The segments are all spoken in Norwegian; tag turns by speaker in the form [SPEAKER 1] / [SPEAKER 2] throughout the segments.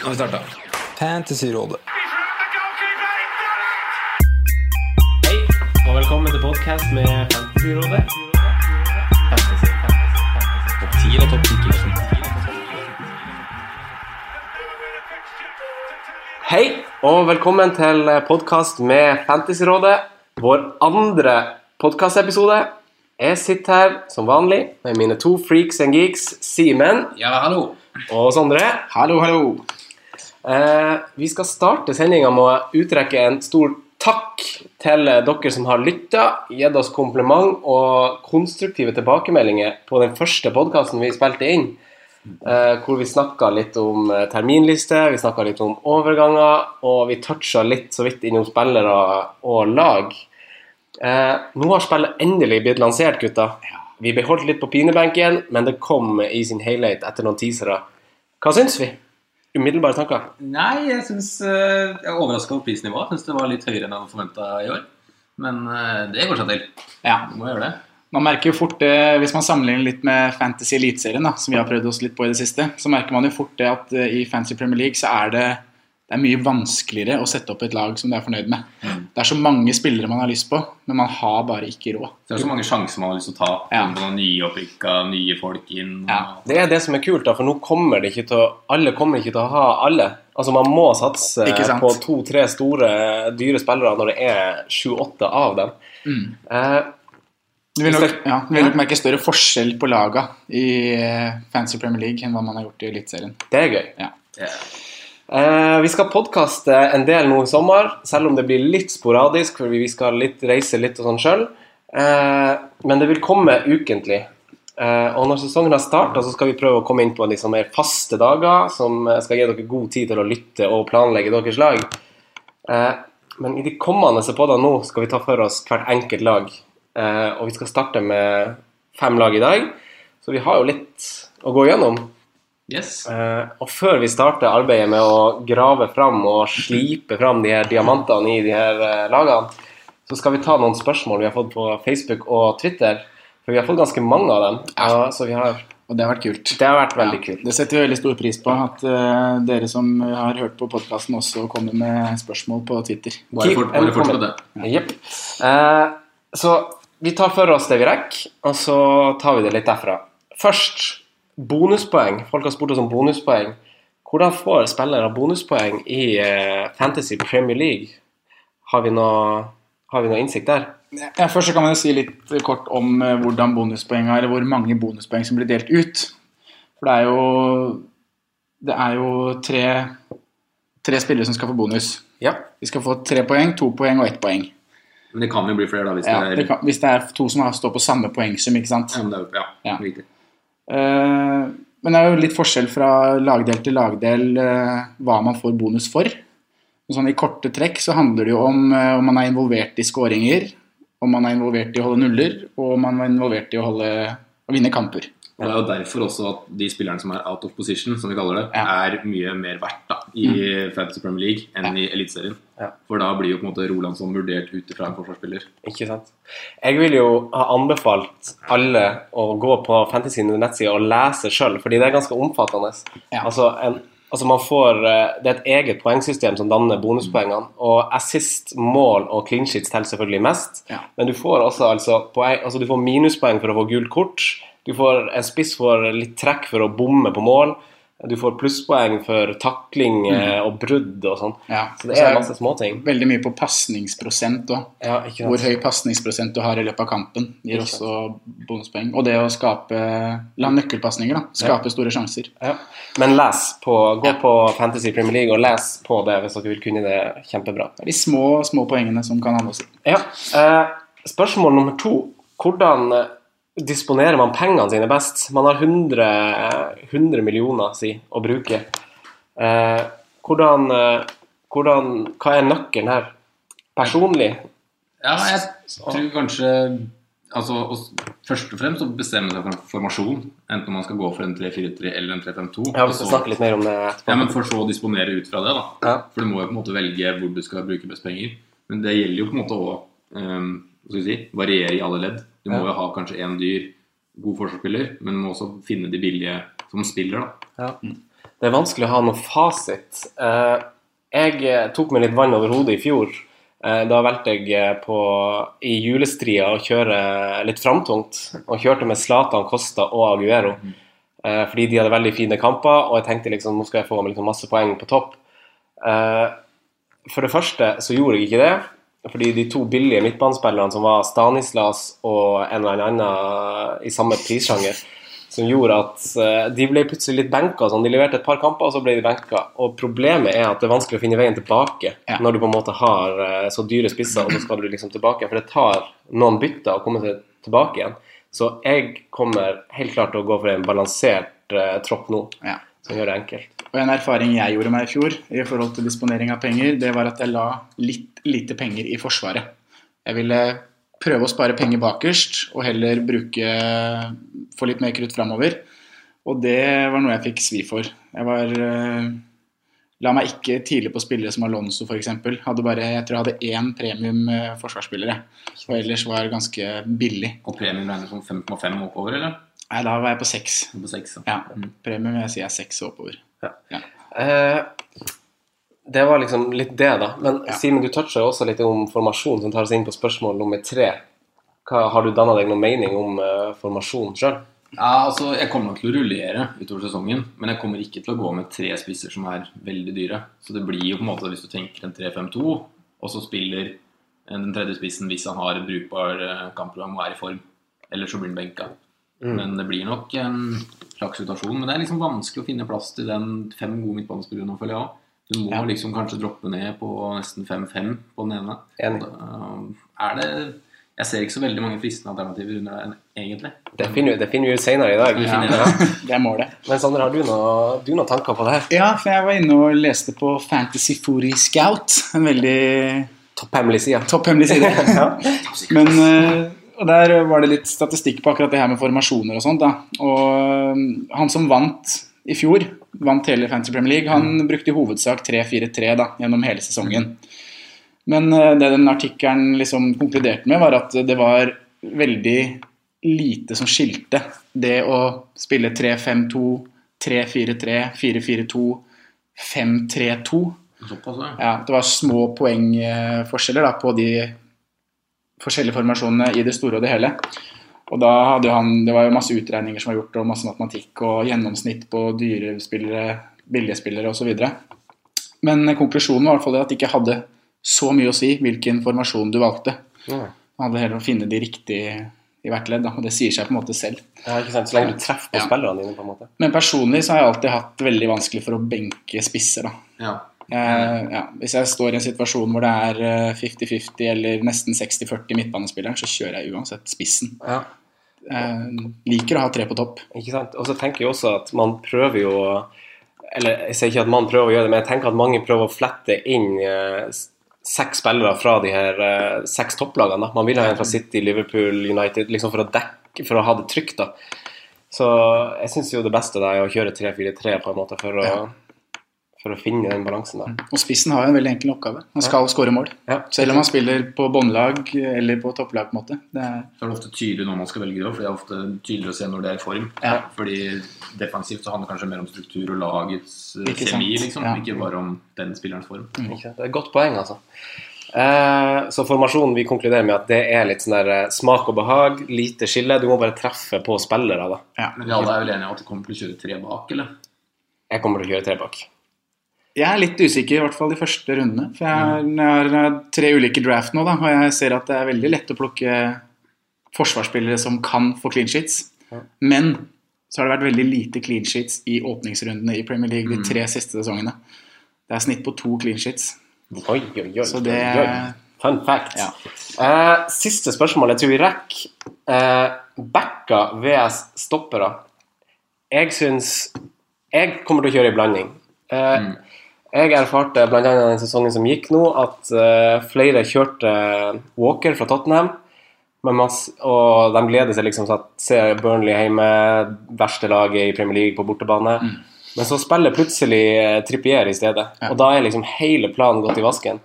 [SPEAKER 1] Nå har vi starta. Fantasyrådet.
[SPEAKER 2] Hei, og velkommen til podcast med Fantasyrådet. Hei, og velkommen til podcast med Fantasyrådet, vår andre podcastepisode. Jeg sitter her som vanlig med mine to freaks and geeks, Simen
[SPEAKER 1] Ja, hallo.
[SPEAKER 2] og Sondre.
[SPEAKER 3] Hallo, hallo.
[SPEAKER 2] Eh, vi skal starte sendinga med å utrekke en stor takk til eh, dere som har lytta, gitt oss kompliment og konstruktive tilbakemeldinger på den første podkasten vi spilte inn, eh, hvor vi snakka litt om eh, terminliste, vi snakka litt om overganger, og vi toucha litt så vidt innom spillere og lag. Eh, nå har spillet endelig blitt lansert, gutta. Vi beholdt litt på pinebenken, men det kom i sin helhet etter noen teasere. Hva syns vi? Umiddelbare tanker?
[SPEAKER 1] Nei, jeg syns Jeg er overraska over prisnivået. Syns det var litt høyere enn jeg hadde forventa i år. Men eh, det går seg til.
[SPEAKER 3] Ja,
[SPEAKER 1] Du må gjøre det.
[SPEAKER 3] Man merker jo fort det, Hvis man sammenligner litt med Fantasy Eliteserien, da, som vi har prøvd oss litt på i det siste, så merker man jo fort det at eh, i Fantasy Premier League så er det, det er mye vanskeligere å sette opp et lag som du er fornøyd med.
[SPEAKER 1] Mm.
[SPEAKER 3] Det er så mange spillere man har lyst på, men man har bare ikke råd.
[SPEAKER 1] Det er så mange sjanser man har lyst til å ta.
[SPEAKER 3] Ja.
[SPEAKER 1] På noen nye opprykka, nye folk inn. og-
[SPEAKER 3] Ja.
[SPEAKER 2] Det er det som er kult, da, for nå kommer det ikke til å Alle kommer ikke til å ha alle. Altså, man må satse
[SPEAKER 3] Ikke sant.
[SPEAKER 2] på to-tre store, dyre spillere når det er sju-åtte av dem.
[SPEAKER 3] Mm.
[SPEAKER 2] Eh,
[SPEAKER 3] Du vil nok,
[SPEAKER 2] Hvis det-
[SPEAKER 3] ja, du vil nok merke større forskjell på laga i eh, Fantasy Premier League enn hva man har gjort i Eliteserien.
[SPEAKER 2] det er gøy.
[SPEAKER 3] Ja.
[SPEAKER 1] Ja.
[SPEAKER 2] Eh, vi skal podkaste en del nå i sommer, selv om det blir litt sporadisk, for vi skal litt, reise litt og sånn sjøl. Eh, men det vil komme ukentlig. Eh, og når sesongen har starta, så skal vi prøve å komme inn på de som er faste dager, som eh, skal gi dere god tid til å lytte og planlegge deres lag. Eh, men i de kommende podene nå skal vi ta for oss hvert enkelt lag. Eh, og vi skal starte med fem lag i dag, så vi har jo litt å gå gjennom.
[SPEAKER 1] Yes.
[SPEAKER 2] Eh, og før vi starter arbeidet med å grave fram og slipe fram de her diamantene i de her eh, lagene, så skal vi ta noen spørsmål vi har fått på Facebook og Twitter. For vi har fått ganske mange av dem. Ja, så vi har,
[SPEAKER 3] Og det har vært kult.
[SPEAKER 2] det har vært veldig
[SPEAKER 3] Ja,
[SPEAKER 2] kult.
[SPEAKER 3] Det setter vi veldig stor pris på, at eh, dere som har hørt på podkasten også kommer med spørsmål på Twitter.
[SPEAKER 1] Bare
[SPEAKER 2] Keep
[SPEAKER 1] fort,
[SPEAKER 2] and
[SPEAKER 1] bare fortsett
[SPEAKER 2] comment.
[SPEAKER 1] med det.
[SPEAKER 2] Jepp. Eh, så vi tar for oss det vi rekker, og så tar vi det litt derfra. Først bonuspoeng. Folk har spurt oss om bonuspoeng. Hvordan får spillere bonuspoeng i eh, Fantasy Premier League? Har vi noe, har vi noe innsikt der?
[SPEAKER 3] Ja, først så kan man jo si litt kort om eh, hvordan bonuspoengene, eller hvor mange bonuspoeng som blir delt ut. For det er jo, det er jo tre, tre spillere som skal få bonus.
[SPEAKER 2] Ja.
[SPEAKER 3] De skal få tre poeng, to poeng og ett poeng.
[SPEAKER 1] Men det kan jo bli flere, da, hvis
[SPEAKER 3] Ja,
[SPEAKER 1] det
[SPEAKER 3] det
[SPEAKER 1] er
[SPEAKER 3] kan, hvis det er to som har- står på samme poengsum, ikke sant.
[SPEAKER 1] Ja, men det er jo- ja,
[SPEAKER 3] Ja.
[SPEAKER 1] riktig.
[SPEAKER 3] Eh, men det er jo litt forskjell fra lagdel til lagdel eh, hva man får bonus for. Sånn I korte trekk så handler det jo om eh, om man er involvert i skåringer, om man er involvert i å holde nuller, og om man er involvert i å, holde, å vinne kamper.
[SPEAKER 1] Og Det er jo derfor også at de spillerne som er out of position, som vi kaller det,
[SPEAKER 3] Ja. Mm.
[SPEAKER 1] er mye mer verdt da, i Fantasy Premier League enn i Eliteserien.
[SPEAKER 2] Ja.
[SPEAKER 1] For da blir jo på en måte Rolandsson vurdert ut ifra en forsvarsspiller.
[SPEAKER 2] Ikke sant. Jeg vil jo ha anbefalt alle å gå på Fantasy sine nettsider og lese sjøl, fordi det er ganske omfattende.
[SPEAKER 3] Ja.
[SPEAKER 2] Altså, en, altså man får eh, Det er et eget poengsystem som danner bonuspoengene, og assist, mål og clean sheets teller selvfølgelig mest,
[SPEAKER 3] Ja.
[SPEAKER 2] men du får også altså, poeng, altså du får minuspoeng for å få gult kort, du får en spiss for litt trekk for å bomme på mål, du får plusspoeng for takling eh, og brudd og sånn.
[SPEAKER 3] Mm. Ja. Altså,
[SPEAKER 2] Så det er masse småting.
[SPEAKER 3] Veldig mye på pasningsprosent òg.
[SPEAKER 2] Ja, ikke
[SPEAKER 3] Hvor
[SPEAKER 2] sant.
[SPEAKER 3] høy pasningsprosent du har i løpet av kampen, gir
[SPEAKER 2] Ikke sant.
[SPEAKER 3] også bonuspoeng. Og det å skape la nøkkelpasninger, da. Skape store sjanser.
[SPEAKER 2] Ja. Men les på, gå på Fantasy Premier League og les på det hvis dere vil kunne det kjempebra.
[SPEAKER 3] Det er de små, små poengene som kan handle oss.
[SPEAKER 2] Ja. Eh, spørsmål nummer to. Hvordan eh, disponerer man pengene sine best? Man har 100, eh, 100 millioner si, å bruke. Eh, hvordan, eh, hvordan Hva er nøkkelen her? Personlig?
[SPEAKER 1] Ja, jeg tror kanskje altså, og s- Først og fremst å bestemme seg for en formasjon. Enten om man skal gå for en 3-4-3 eller en 3-5-2.
[SPEAKER 2] Ja, Vi
[SPEAKER 1] og
[SPEAKER 2] skal
[SPEAKER 1] så-
[SPEAKER 2] snakke litt mer om det etterpå.
[SPEAKER 1] Ja, men for så å disponere ut fra det, da.
[SPEAKER 2] Ja.
[SPEAKER 1] For du må jo på en måte velge hvor du skal bruke best penger. Men det gjelder jo på en måte å ehm, hva skal vi si, variere i alle ledd. Du må
[SPEAKER 2] Ja.
[SPEAKER 1] jo ha kanskje én dyr, god forsvarsspiller, men du må også finne de billige som spiller, da.
[SPEAKER 2] Ja. Det er vanskelig å ha noe fasit. Eh, Jeg eh, tok meg litt vann over hodet i fjor. Eh, Da valgte jeg eh, på, i julestria å kjøre litt framtungt, og kjørte med Zlatan, Costa og Aguero. Eh, Fordi de hadde veldig fine kamper, og jeg tenkte liksom, nå skal jeg få meg liksom masse poeng på topp. Eh, For det første så gjorde jeg ikke det, fordi de to billige midtbanespillerne som var Stanislas og en eller annen i samme prissjanger, som gjorde at eh, de ble plutselig litt benka. og Sånn. De leverte et par kamper, og så ble de benka. Og problemet er at det er vanskelig å finne veien tilbake
[SPEAKER 3] Ja.
[SPEAKER 2] når du på en måte har eh, så dyre spisser, og så skal du liksom tilbake. For det tar noen bytter å komme til, tilbake igjen. Så jeg kommer helt klart til å gå for en balansert eh, tropp nå,
[SPEAKER 3] Ja.
[SPEAKER 2] som gjør det enkelt.
[SPEAKER 3] Og en erfaring jeg gjorde meg i fjor i forhold til disponering av penger, det var at jeg la litt lite penger i Forsvaret. Jeg ville prøve å spare penger bakerst, og heller bruke få litt mer krutt framover. Og det var noe jeg fikk svi for. Jeg var eh, La meg ikke tidlig på spillere som Alonso f.eks. Hadde bare, jeg tror jeg hadde én premium eh, forsvarsspillere, og ellers var ganske billig.
[SPEAKER 1] Og premien regnes som 5,5 oppover, eller?
[SPEAKER 3] Nei, da var jeg på seks.
[SPEAKER 1] På 6,
[SPEAKER 3] Ja, premium jeg sier er seks og oppover.
[SPEAKER 2] Eh, det var liksom litt det, da. Men Simen, du toucha jo også litt om formasjon, som tar oss inn på spørsmål nummer tre. Hva, har du danna deg noen mening om eh, formasjon sjøl?
[SPEAKER 1] Ja, altså, Jeg kommer nok til å rullere utover sesongen, men jeg kommer ikke til å gå med tre spisser som er veldig dyre. Så det blir jo på en måte, hvis du tenker en 3-5-2, og så spiller den tredje spissen hvis han har et brukbar eh, kampprogram og er i form. Eller så blir han benka. Men det blir nok en slags rotasjon. Men det er liksom vanskelig å finne plass til den fem gode midtbanespillerne, nå, føler jeg òg. Du må
[SPEAKER 3] Ja.
[SPEAKER 1] liksom kanskje droppe ned på nesten 5-5 på den ene.
[SPEAKER 2] Enig.
[SPEAKER 1] Og da, eh, Er det Jeg ser ikke så veldig mange fristende alternativer under den, egentlig.
[SPEAKER 2] Det finner, vi- det finner vi ut seinere i dag.
[SPEAKER 1] Vi finner
[SPEAKER 2] Ja.
[SPEAKER 3] Det er målet.
[SPEAKER 2] Men Sander, har du, noe, du noen tanker på det her?
[SPEAKER 3] Ja, for jeg var inne og leste på Fantasy Footy Scout. En veldig
[SPEAKER 2] Topphemmelig side.
[SPEAKER 3] topphemmelig side. Men eh, og der var det litt statistikk på akkurat det her med formasjoner og sånt. da. Og eh, han som vant i fjor, vant hele Fantasy Premier League, han brukte i hovedsak 3-4-3 da, gjennom hele sesongen. Men eh, det den artikkelen liksom konkluderte med, var at det var veldig lite som skilte. Det å spille 3-5-2, 3-4-3, 4-4-2, 5-3-2.
[SPEAKER 1] Såpass, ja.
[SPEAKER 3] Ja, det var små poengforskjeller da, på de forskjellige formasjonene i det store og det hele. Og da hadde jo han, Det var jo masse utregninger som var gjort, og masse matematikk og gjennomsnitt på dyre spillere, billige spillere osv. Men konklusjonen var i hvert fall det at det ikke hadde så mye å si hvilken formasjon du valgte.
[SPEAKER 2] Ja.
[SPEAKER 3] Det handler heller om å finne de riktige i hvert ledd, da, og det sier seg på en måte selv.
[SPEAKER 2] Ja, ikke sant? Så lenge du treffer på
[SPEAKER 3] Ja.
[SPEAKER 2] spillerne dine, på en måte.
[SPEAKER 3] Men personlig så har jeg alltid hatt veldig vanskelig for å benke spisser. da.
[SPEAKER 1] ja.
[SPEAKER 3] Eh, ja. Hvis jeg står i en situasjon hvor det er eh, 50-50 eller nesten 60-40 midtbanespilleren, så kjører jeg uansett spissen. Eh, liker å ha tre på topp.
[SPEAKER 2] Ikke sant? Og så tenker jeg også at man prøver jo å- Eller jeg sier ikke at man prøver å gjøre det, men jeg tenker at mange prøver å flette inn eh, s- seks spillere fra de her eh, seks topplagene. Da. Man vil ha en fra City, Liverpool, United, liksom for å dekke, for å ha det trygt. da. Så jeg syns jo det beste da er å kjøre 3-4-3 på en måte for å,
[SPEAKER 3] Ja.
[SPEAKER 2] for å finne den balansen der.
[SPEAKER 3] Og spissen har jo en veldig enkel oppgave. Han skal skåre mål.
[SPEAKER 2] Ja.
[SPEAKER 3] Selv om han spiller på båndlag eller på topplag, på en måte. Det er,
[SPEAKER 1] Så er det ofte tydelig når man skal velge det òg, for det er ofte tydeligere å se når det er i form.
[SPEAKER 3] Ja.
[SPEAKER 1] Fordi defensivt så handler det kanskje mer om struktur og lagets eh,
[SPEAKER 3] Ikke sant.
[SPEAKER 1] kjemi, liksom.
[SPEAKER 3] Ja.
[SPEAKER 1] Ikke bare om den spillerens form.
[SPEAKER 2] Ikke sant? Det er et godt poeng, altså. Eh, så formasjonen vi konkluderer med at det er litt sånn der eh, smak og behag, lite skille. Du må bare treffe på spillere, da.
[SPEAKER 3] ja.
[SPEAKER 1] Men vi alle er vel enige om at det kommer til å kjøre tre bak, eller?
[SPEAKER 2] Jeg kommer til å kjøre tre bak.
[SPEAKER 3] Jeg er litt usikker, i hvert fall de første rundene. For jeg, har- jeg har tre ulike draft nå, da, og jeg ser at det er veldig lett å plukke forsvarsspillere som kan få clean sheets. Men så har det vært veldig lite clean sheets i åpningsrundene i Premier League de tre siste sesongene. Det er snitt på to clean sheets.
[SPEAKER 2] Oi, oi, oi.
[SPEAKER 3] Så det-
[SPEAKER 2] oi, oi. Fun fact.
[SPEAKER 3] Ja.
[SPEAKER 2] Eh, siste spørsmål jeg tror vi rekker. Eh, Backer VS stoppere. Jeg syns Jeg kommer til å kjøre i blanding. Eh, Jeg erfarte bl.a. den sesongen som gikk nå, at eh, flere kjørte Walker fra Tottenham. Men man, s- og de gleder seg liksom til å se Burnley hjemme, verste laget i Premier League på bortebane. Men så spiller plutselig eh, Trippier i stedet, og da er liksom hele planen gått i vasken.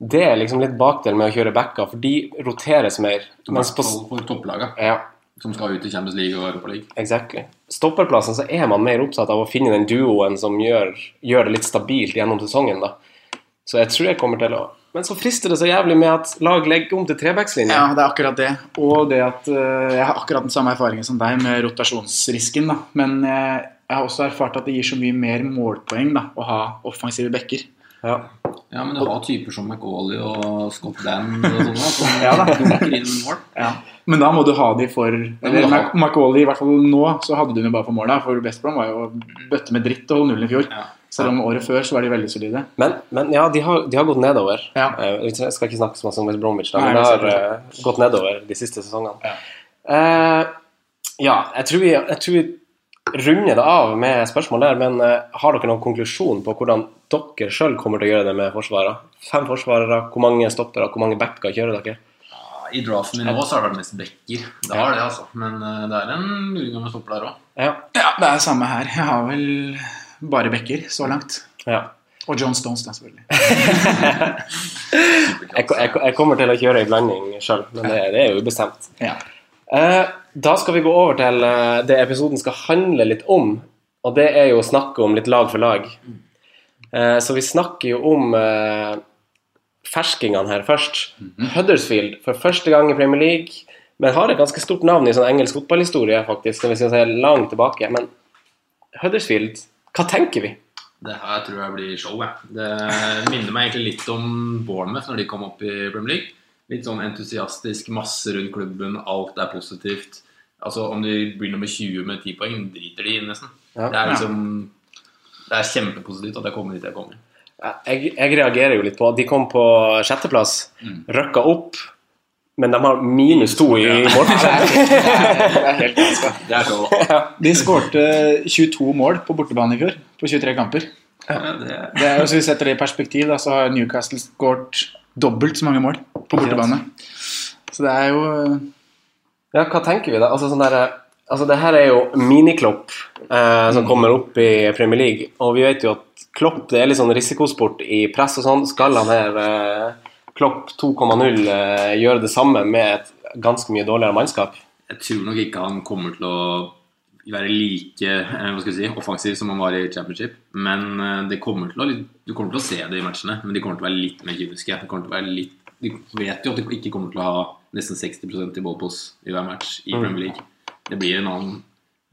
[SPEAKER 2] Det er liksom litt bakdel med å kjøre backer, for de roteres mer. Mens på, s-
[SPEAKER 1] På topplaga.
[SPEAKER 2] ja.
[SPEAKER 1] som skal ut i Champions League og Europa League.
[SPEAKER 2] Exactly. Stopperplassen så er man mer opptatt av å finne den duoen som gjør, gjør det litt stabilt gjennom sesongen, da. Så jeg tror jeg kommer til å Men så frister det så jævlig med at lag legger om til trebackslinje.
[SPEAKER 3] Ja, det er akkurat det. Og det at eh, jeg har akkurat den samme erfaringen som deg med rotasjonsrisken, da. Men eh, jeg har også erfart at det gir så mye mer målpoeng da, å ha offensive backer.
[SPEAKER 2] Ja.
[SPEAKER 1] Ja, men du har typer som McAuley og Scott Dan og sånn da, som
[SPEAKER 3] Ja, da.
[SPEAKER 1] dunker inn mål.
[SPEAKER 3] Men da må du ha de for Eller
[SPEAKER 1] du ha-
[SPEAKER 3] Mac- McAuley, i hvert fall nå, så hadde du dem bare for måla. For West Brom var jo bøtte med dritt og holdt nullen i fjor.
[SPEAKER 1] Ja.
[SPEAKER 3] Selv om året før så var de veldig solide.
[SPEAKER 2] Men, men ja, de har, de har gått nedover.
[SPEAKER 3] Ja.
[SPEAKER 2] Eh, vi tre- skal ikke snakke så mye om West Bromwich, da,
[SPEAKER 3] Nei,
[SPEAKER 2] men det har
[SPEAKER 3] det er
[SPEAKER 2] eh, gått nedover de siste sesongene.
[SPEAKER 3] Ja.
[SPEAKER 2] Eh, ja, jeg tror, vi, jeg tror vi runder det av med spørsmål der, men eh, har dere noen konklusjon på hvordan dere sjøl kommer til å gjøre det med forsvarere? Fem forsvarere, hvor mange stoppere, hvor mange backer kjører dere?
[SPEAKER 1] I draften min nå så har det vært mest backer. Det har det, altså. Men eh, det er en luring om å stoppe der òg.
[SPEAKER 2] Ja.
[SPEAKER 3] Ja, det er samme her. Jeg har vel bare backer så langt.
[SPEAKER 2] ja.
[SPEAKER 3] Og John Stones, da, selvfølgelig.
[SPEAKER 2] Jeg, ko- jeg, ko- jeg kommer til å kjøre i blanding sjøl, men det, det er jo ubestemt.
[SPEAKER 3] Ja.
[SPEAKER 2] Eh, Da skal vi gå over til eh, det episoden skal handle litt om. Og det er jo å snakke om litt lag for lag. Eh, Så vi snakker jo om eh, ferskingene her først. Huddersfield for første gang i Premier League, men har et ganske stort navn i sånn engelsk fotballhistorie, faktisk, når vi skal se langt tilbake. Men Huddersfield, hva tenker vi?
[SPEAKER 1] Det her tror jeg blir show. Jeg. Det minner meg egentlig litt om Bournemouth når de kom opp i Premier League. Litt sånn entusiastisk, masse rundt klubben, alt er positivt. Altså Om de blir nummer 20 med 10 poeng, driter de i nesten.
[SPEAKER 2] Ja.
[SPEAKER 1] Det er liksom Det er kjempepositivt at jeg kommer dit jeg kommer.
[SPEAKER 2] Jeg, jeg reagerer jo litt på at de kom på sjetteplass, røkka opp, men de har minus to i målforskjell.
[SPEAKER 1] Det er show.
[SPEAKER 3] De skårte 22 mål på bortebane i fjor, på 23 kamper.
[SPEAKER 1] Ja, det er
[SPEAKER 3] Det er, hvis vi setter det i perspektiv, da, så har Newcastle skåret dobbelt så mange mål på bortebane. Så det er jo
[SPEAKER 2] Ja, hva tenker vi da? Altså, sånn der, altså det her er jo miniklopp eh,
[SPEAKER 3] Mm.
[SPEAKER 2] som kommer opp i Premier League, og vi vet jo at klopp det er litt sånn risikosport i press og sånn. Skal han her eh, klopp 2,0 eh, gjøre det samme med et ganske mye dårligere mannskap?
[SPEAKER 1] Jeg tror nok ikke han kommer til å være like eh, hva skal jeg si, offensiv som han var i championship. Men eh, det kommer til å, du kommer til å se det i matchene, men de kommer til å være litt mer kyniske. De, kommer til å være litt, de vet jo at de ikke kommer til å ha nesten 60 i ballpos i hver match
[SPEAKER 3] Mm.
[SPEAKER 1] i Premier League. Det blir en annen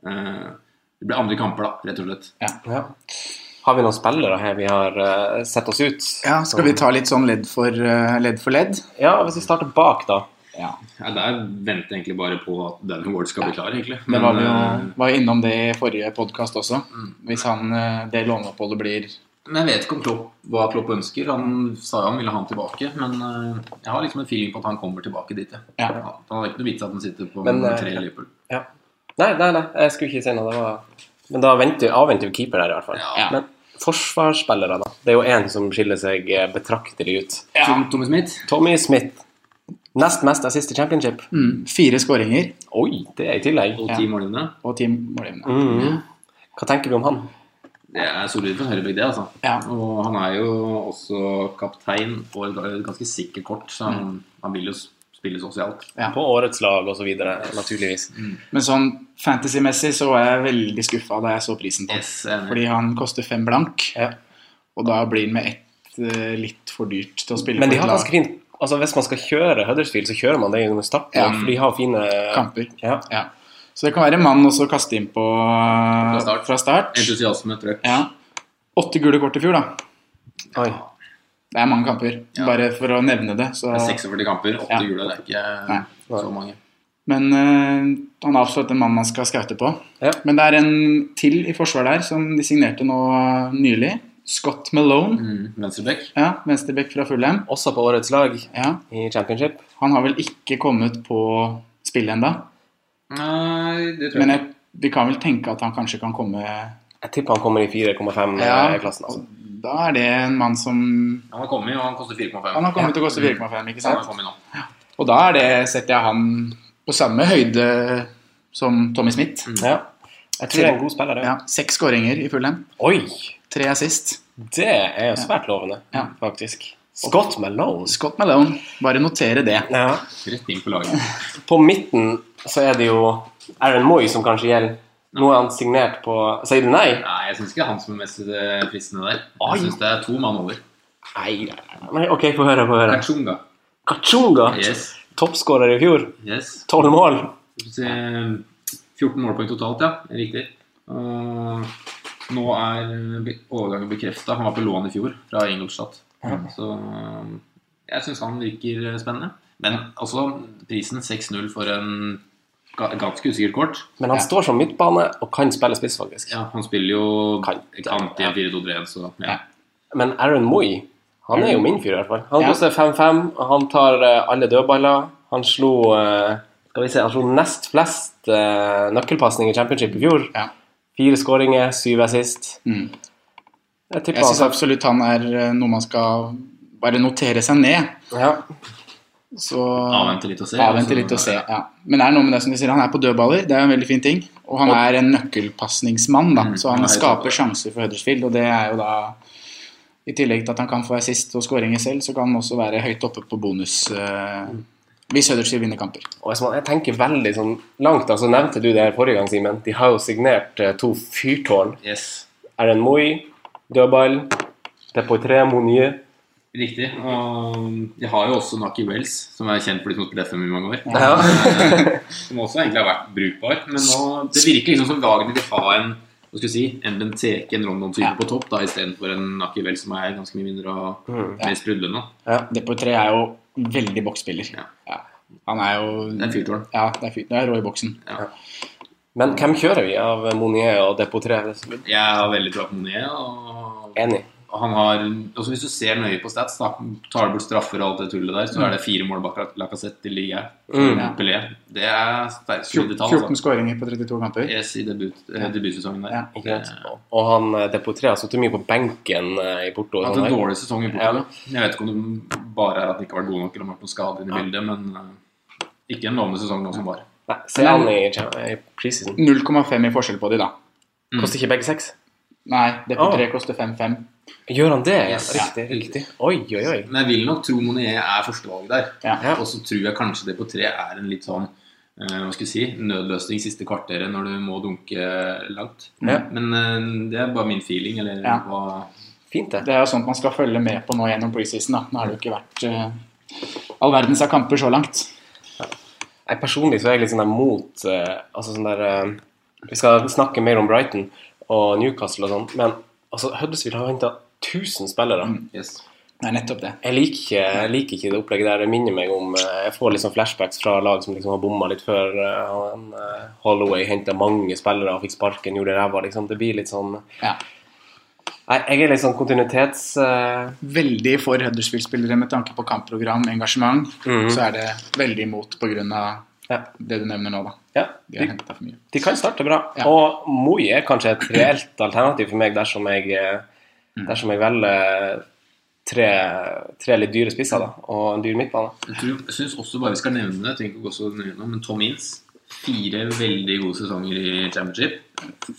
[SPEAKER 1] eh, Det blir andre kamper, da, rett og slett.
[SPEAKER 2] Ja. Har vi noen spillere her vi har eh, sett oss ut?
[SPEAKER 3] Ja, skal vi ta litt sånn ledd for eh, ledd? For ledd?
[SPEAKER 2] Ja, hvis vi starter bak, da.
[SPEAKER 3] Ja.
[SPEAKER 1] Ja, der venter jeg egentlig bare på at Danny Ward skal bli klar, egentlig.
[SPEAKER 3] Det
[SPEAKER 1] Men,
[SPEAKER 3] var vi jo
[SPEAKER 1] eh, Mm.
[SPEAKER 3] var jo innom det i forrige podkast også. Hvis han, eh, det låneoppholdet blir
[SPEAKER 1] Men jeg vet ikke om Klopp, hva Klopp ønsker. Han sa jo han ville ha han tilbake, men eh, jeg har liksom en feeling på at han kommer tilbake dit. jeg.
[SPEAKER 3] Ja.
[SPEAKER 1] Han han har ikke noe vits at han sitter på
[SPEAKER 2] Men,
[SPEAKER 1] nummer
[SPEAKER 2] eh,
[SPEAKER 1] tre i Liverpool.
[SPEAKER 2] Ja. Nei, nei, nei, jeg skulle ikke si noe. Det var... Men da venter, avventer vi keeper der, i hvert fall.
[SPEAKER 1] Ja.
[SPEAKER 2] Men forsvarsspillere, da. Det er jo én som skiller seg eh, betraktelig ut.
[SPEAKER 1] Tom- Tommy Smith?
[SPEAKER 2] Tommy Smith. Nest mest assist i championship.
[SPEAKER 3] Mm, fire skåringer
[SPEAKER 2] Oi, det er i tillegg.
[SPEAKER 1] Og
[SPEAKER 3] Ja.
[SPEAKER 1] ti målgivende?
[SPEAKER 3] og ti målgivende.
[SPEAKER 2] Mhm. Hva tenker vi om han?
[SPEAKER 1] Det er solid for høyrebekk, det, altså.
[SPEAKER 3] Ja.
[SPEAKER 1] Og han er jo også kaptein og et ga- et ganske sikkert kort, så han, han vil jo s- spille sosialt.
[SPEAKER 3] Ja.
[SPEAKER 2] På årets lag og så videre, naturligvis.
[SPEAKER 3] Men sånn fantasy-messig så var jeg veldig skuffa da jeg så prisen på han.
[SPEAKER 1] Yes, jeg er enig.
[SPEAKER 3] Fordi han koster fem blank,
[SPEAKER 2] Ja.
[SPEAKER 3] og da blir han med ett eh, litt for dyrt til å spille
[SPEAKER 2] Men de
[SPEAKER 3] for et
[SPEAKER 2] har
[SPEAKER 3] lag.
[SPEAKER 2] ganske fint Altså Hvis man skal kjøre Huddersfield, så kjører man det gjennom starten.
[SPEAKER 3] Ja.
[SPEAKER 2] For de har fine
[SPEAKER 3] kamper.
[SPEAKER 2] Ja.
[SPEAKER 3] Ja. Så det kan være en mann også å kaste inn på fra
[SPEAKER 1] start.
[SPEAKER 3] Fra start.
[SPEAKER 1] Entusiasme, trøkk.
[SPEAKER 3] Ja. Åtte gule kort i fjor, da.
[SPEAKER 2] Oi.
[SPEAKER 3] Det er mange kamper,
[SPEAKER 1] Ja.
[SPEAKER 3] bare for å nevne det. Så.
[SPEAKER 1] Det er 46 kamper, 8
[SPEAKER 3] Ja.
[SPEAKER 1] jule, det er ikke
[SPEAKER 3] Nei.
[SPEAKER 1] så mange.
[SPEAKER 3] Men eh, han er absolutt en mann man skal skaute på.
[SPEAKER 2] Ja.
[SPEAKER 3] Men det er en til i forsvar der som de signerte nå eh, nylig. Scott Malone.
[SPEAKER 1] Mm, Venstrebekk?
[SPEAKER 3] Ja, Venstrebekk fra Fulham.
[SPEAKER 2] Også på årets lag
[SPEAKER 3] Ja,
[SPEAKER 2] i championship.
[SPEAKER 3] han har vel ikke kommet på spillet enda
[SPEAKER 1] Nei, det tror
[SPEAKER 3] Men
[SPEAKER 1] jeg ikke.
[SPEAKER 3] jeg, vi kan vel tenke at han kanskje kan komme
[SPEAKER 2] Jeg tipper han kommer i 4,5-klassen. altså.
[SPEAKER 3] Da er det en mann som
[SPEAKER 1] Han har kommet, og han koster 4,5.
[SPEAKER 3] Han har kommet til å koste 4,5, ikke
[SPEAKER 1] Han har
[SPEAKER 3] sant?
[SPEAKER 1] kommet nå.
[SPEAKER 3] Og da er det, setter jeg han på samme høyde som Tommy Smith.
[SPEAKER 2] Ja. Jeg tror det er en god spiller, det.
[SPEAKER 3] Ja, Seks skåringer i Fulham,
[SPEAKER 2] Oi!
[SPEAKER 3] tre assist.
[SPEAKER 2] Det er jo svært lovende,
[SPEAKER 3] Ja.
[SPEAKER 2] faktisk. Scott Malone.
[SPEAKER 3] Scott Malone, bare notere det.
[SPEAKER 2] Ja.
[SPEAKER 1] Rett inn på laget.
[SPEAKER 2] På midten så er det jo Aaron Moy som kanskje gjelder. Nå er han signert på Sier du nei?
[SPEAKER 1] Nei, jeg syns ikke det er han som er mest eh, fristende der. Jeg syns det er to mann over.
[SPEAKER 2] Nei, nei, nei. Ok, få høre. få høre.
[SPEAKER 1] Kachunga.
[SPEAKER 2] Kachunga!
[SPEAKER 1] Yes.
[SPEAKER 2] Toppskårer i fjor.
[SPEAKER 1] yes.
[SPEAKER 2] Tolv mål.
[SPEAKER 1] Skal vi se, 14 målpoeng totalt, ja. Det er Riktig. Og nå er eh, be- overgangen bekrefta. Han var på lån i fjor fra Ingolstadt. Så eh, jeg syns han virker eh, spennende. Men altså, prisen 6-0 for en ga- ganske usikkert kort.
[SPEAKER 2] Men han står som midtbane og kan spille spiss, faktisk.
[SPEAKER 1] Ja, han spiller jo
[SPEAKER 2] Kant, ja.
[SPEAKER 1] kant i en 4-2-3-1, så ja.
[SPEAKER 3] Ja.
[SPEAKER 2] Men Aaron Moy, han er jo min fyr, i hvert fall. Han
[SPEAKER 3] Ja.
[SPEAKER 2] koster 5-5, og han tar eh, alle dødballer. Han slo eh, skal vi se, han slo nest flest uh, nøkkelpasninger i championship i fjor.
[SPEAKER 3] Ja.
[SPEAKER 2] Fire skåringer, syv assist.
[SPEAKER 3] Mm.
[SPEAKER 2] Jeg tipper
[SPEAKER 3] Jeg syns
[SPEAKER 2] han
[SPEAKER 3] absolutt han er eh, noe man skal bare notere seg ned.
[SPEAKER 2] ja.
[SPEAKER 3] Så
[SPEAKER 1] Avvente litt og se. altså.
[SPEAKER 3] avvente litt og se. Ja. Men det er noe med det som du sier, han er på dødballer, det er en veldig fin ting. Og han er en nøkkelpasningsmann, da.
[SPEAKER 1] Mm,
[SPEAKER 3] Så
[SPEAKER 1] han
[SPEAKER 3] han
[SPEAKER 1] er helt
[SPEAKER 3] skaper
[SPEAKER 1] oppe.
[SPEAKER 3] sjanser for Huddersfield, og det er jo da I tillegg til at han kan få assist og skåringer selv, så kan han også være høyt oppe på bonus eh, hvis Huddersfield vinner kamper.
[SPEAKER 2] Og hvis man, jeg tenker veldig sånn langt, altså nevnte du det her forrige gang, Simen. De har jo signert eh, to fyrtårn.
[SPEAKER 1] Yes.
[SPEAKER 2] Aaron Moy, dødball, Depoitre Monier.
[SPEAKER 1] Riktig. Og de har jo også Naki Wells, som er kjent for de som har spilt FM i mange år.
[SPEAKER 2] Ja.
[SPEAKER 1] som også egentlig har vært brukbar. Men nå, det virker liksom som Wagner vil ha en hva skal jeg si, en Benteke, en Rondon-type
[SPEAKER 3] Ja.
[SPEAKER 1] på topp, da, istedenfor en Akivel som er ganske mye mindre og
[SPEAKER 2] Mm.
[SPEAKER 1] mer sprudlende.
[SPEAKER 3] Depoitre er jo veldig boksspiller.
[SPEAKER 1] Ja.
[SPEAKER 3] Ja. Han er jo
[SPEAKER 1] Det er en fyrtårn.
[SPEAKER 3] Ja, det er fyrt. Det er rå i boksen.
[SPEAKER 2] Men hvem kjører vi av Monier og Depoitre?
[SPEAKER 1] Jeg har veldig troa på Monier. Og
[SPEAKER 2] Enig.
[SPEAKER 1] og han har, også Hvis du ser nøye på stats, da, tar du bort straffer og alt det tullet der, så er det fire mål bak Lacassette i ligaen.
[SPEAKER 2] Mm.
[SPEAKER 3] Ja.
[SPEAKER 1] Pelé. Det er sterke solide
[SPEAKER 3] 14,
[SPEAKER 1] tall. altså.
[SPEAKER 3] skåringer på 32 kamper.
[SPEAKER 1] Yes, i debut, eh, debutsesongen der.
[SPEAKER 3] Ja,
[SPEAKER 2] Ikke sant? Og han eh, Depoitre har sittet mye på benken eh, i Porto. og
[SPEAKER 1] Hatt
[SPEAKER 2] sånn
[SPEAKER 1] en
[SPEAKER 2] her.
[SPEAKER 1] dårlig sesong i Portugal. Jeg vet ikke om det bare er at han ikke har vært god nok eller om det har vært noen skader i bildet, men eh, ikke en lovende sesong nå som var.
[SPEAKER 2] Nei, Se han i, i preseason.
[SPEAKER 3] 0,5 i forskjell på de, da.
[SPEAKER 2] Koster ikke begge seks?
[SPEAKER 3] Nei, Depoitre koster 5-5.
[SPEAKER 2] Gjør han det?
[SPEAKER 1] Yes.
[SPEAKER 2] Riktig. riktig. Oi, oi, oi.
[SPEAKER 1] Men jeg vil nok tro Monier er førstevalget der.
[SPEAKER 3] Ja.
[SPEAKER 2] Ja.
[SPEAKER 1] Og så tror jeg kanskje det på tre er en litt sånn eh, hva skal jeg si, nødløsning siste kvarteret når du må dunke langt.
[SPEAKER 2] Ja.
[SPEAKER 1] Men eh, det er bare min feeling, eller
[SPEAKER 3] Ja.
[SPEAKER 1] hva
[SPEAKER 2] Fint, det.
[SPEAKER 3] Det er jo sånt man skal følge med på nå gjennom preseason. da. Nå har det jo ikke vært eh, all verdens av kamper så langt.
[SPEAKER 2] Jeg personlig så er jeg litt sånn der mot eh, Altså sånn der eh, Vi skal snakke mer om Brighton og Newcastle og sånn, men altså, Huddersfield har henta 1000 spillere.
[SPEAKER 1] yes.
[SPEAKER 3] Det er nettopp det.
[SPEAKER 2] Jeg liker, ikke- jeg liker ikke det opplegget der. Det minner meg om eh, Jeg får litt sånn flashbacks fra lag som liksom har bomma litt før. eh, Han, eh, Holloway henta mange spillere og fikk sparken, gjorde ræva, liksom. Det blir litt sånn
[SPEAKER 3] Ja.
[SPEAKER 2] Nei, jeg er litt sånn kontinuitets... eh,
[SPEAKER 3] Veldig for Huddersfield-spillere med tanke på kampprogram, engasjement. Så er det veldig imot pga.
[SPEAKER 2] ja.
[SPEAKER 3] det du nevner nå, da.
[SPEAKER 2] ja.
[SPEAKER 3] De har
[SPEAKER 2] De,
[SPEAKER 3] hentet for mye.
[SPEAKER 2] de kan starte bra.
[SPEAKER 3] Ja.
[SPEAKER 2] Og Moi er kanskje et reelt alternativ for meg dersom jeg, eh, dersom jeg velger tre, tre litt dyre spisser da, og en dyr midtbane.
[SPEAKER 1] Jeg, tror, jeg syns også bare vi skal nevne det, jeg trenger ikke å gå så nøye nå, men Tom Inns. Fire veldig gode sesonger i championship.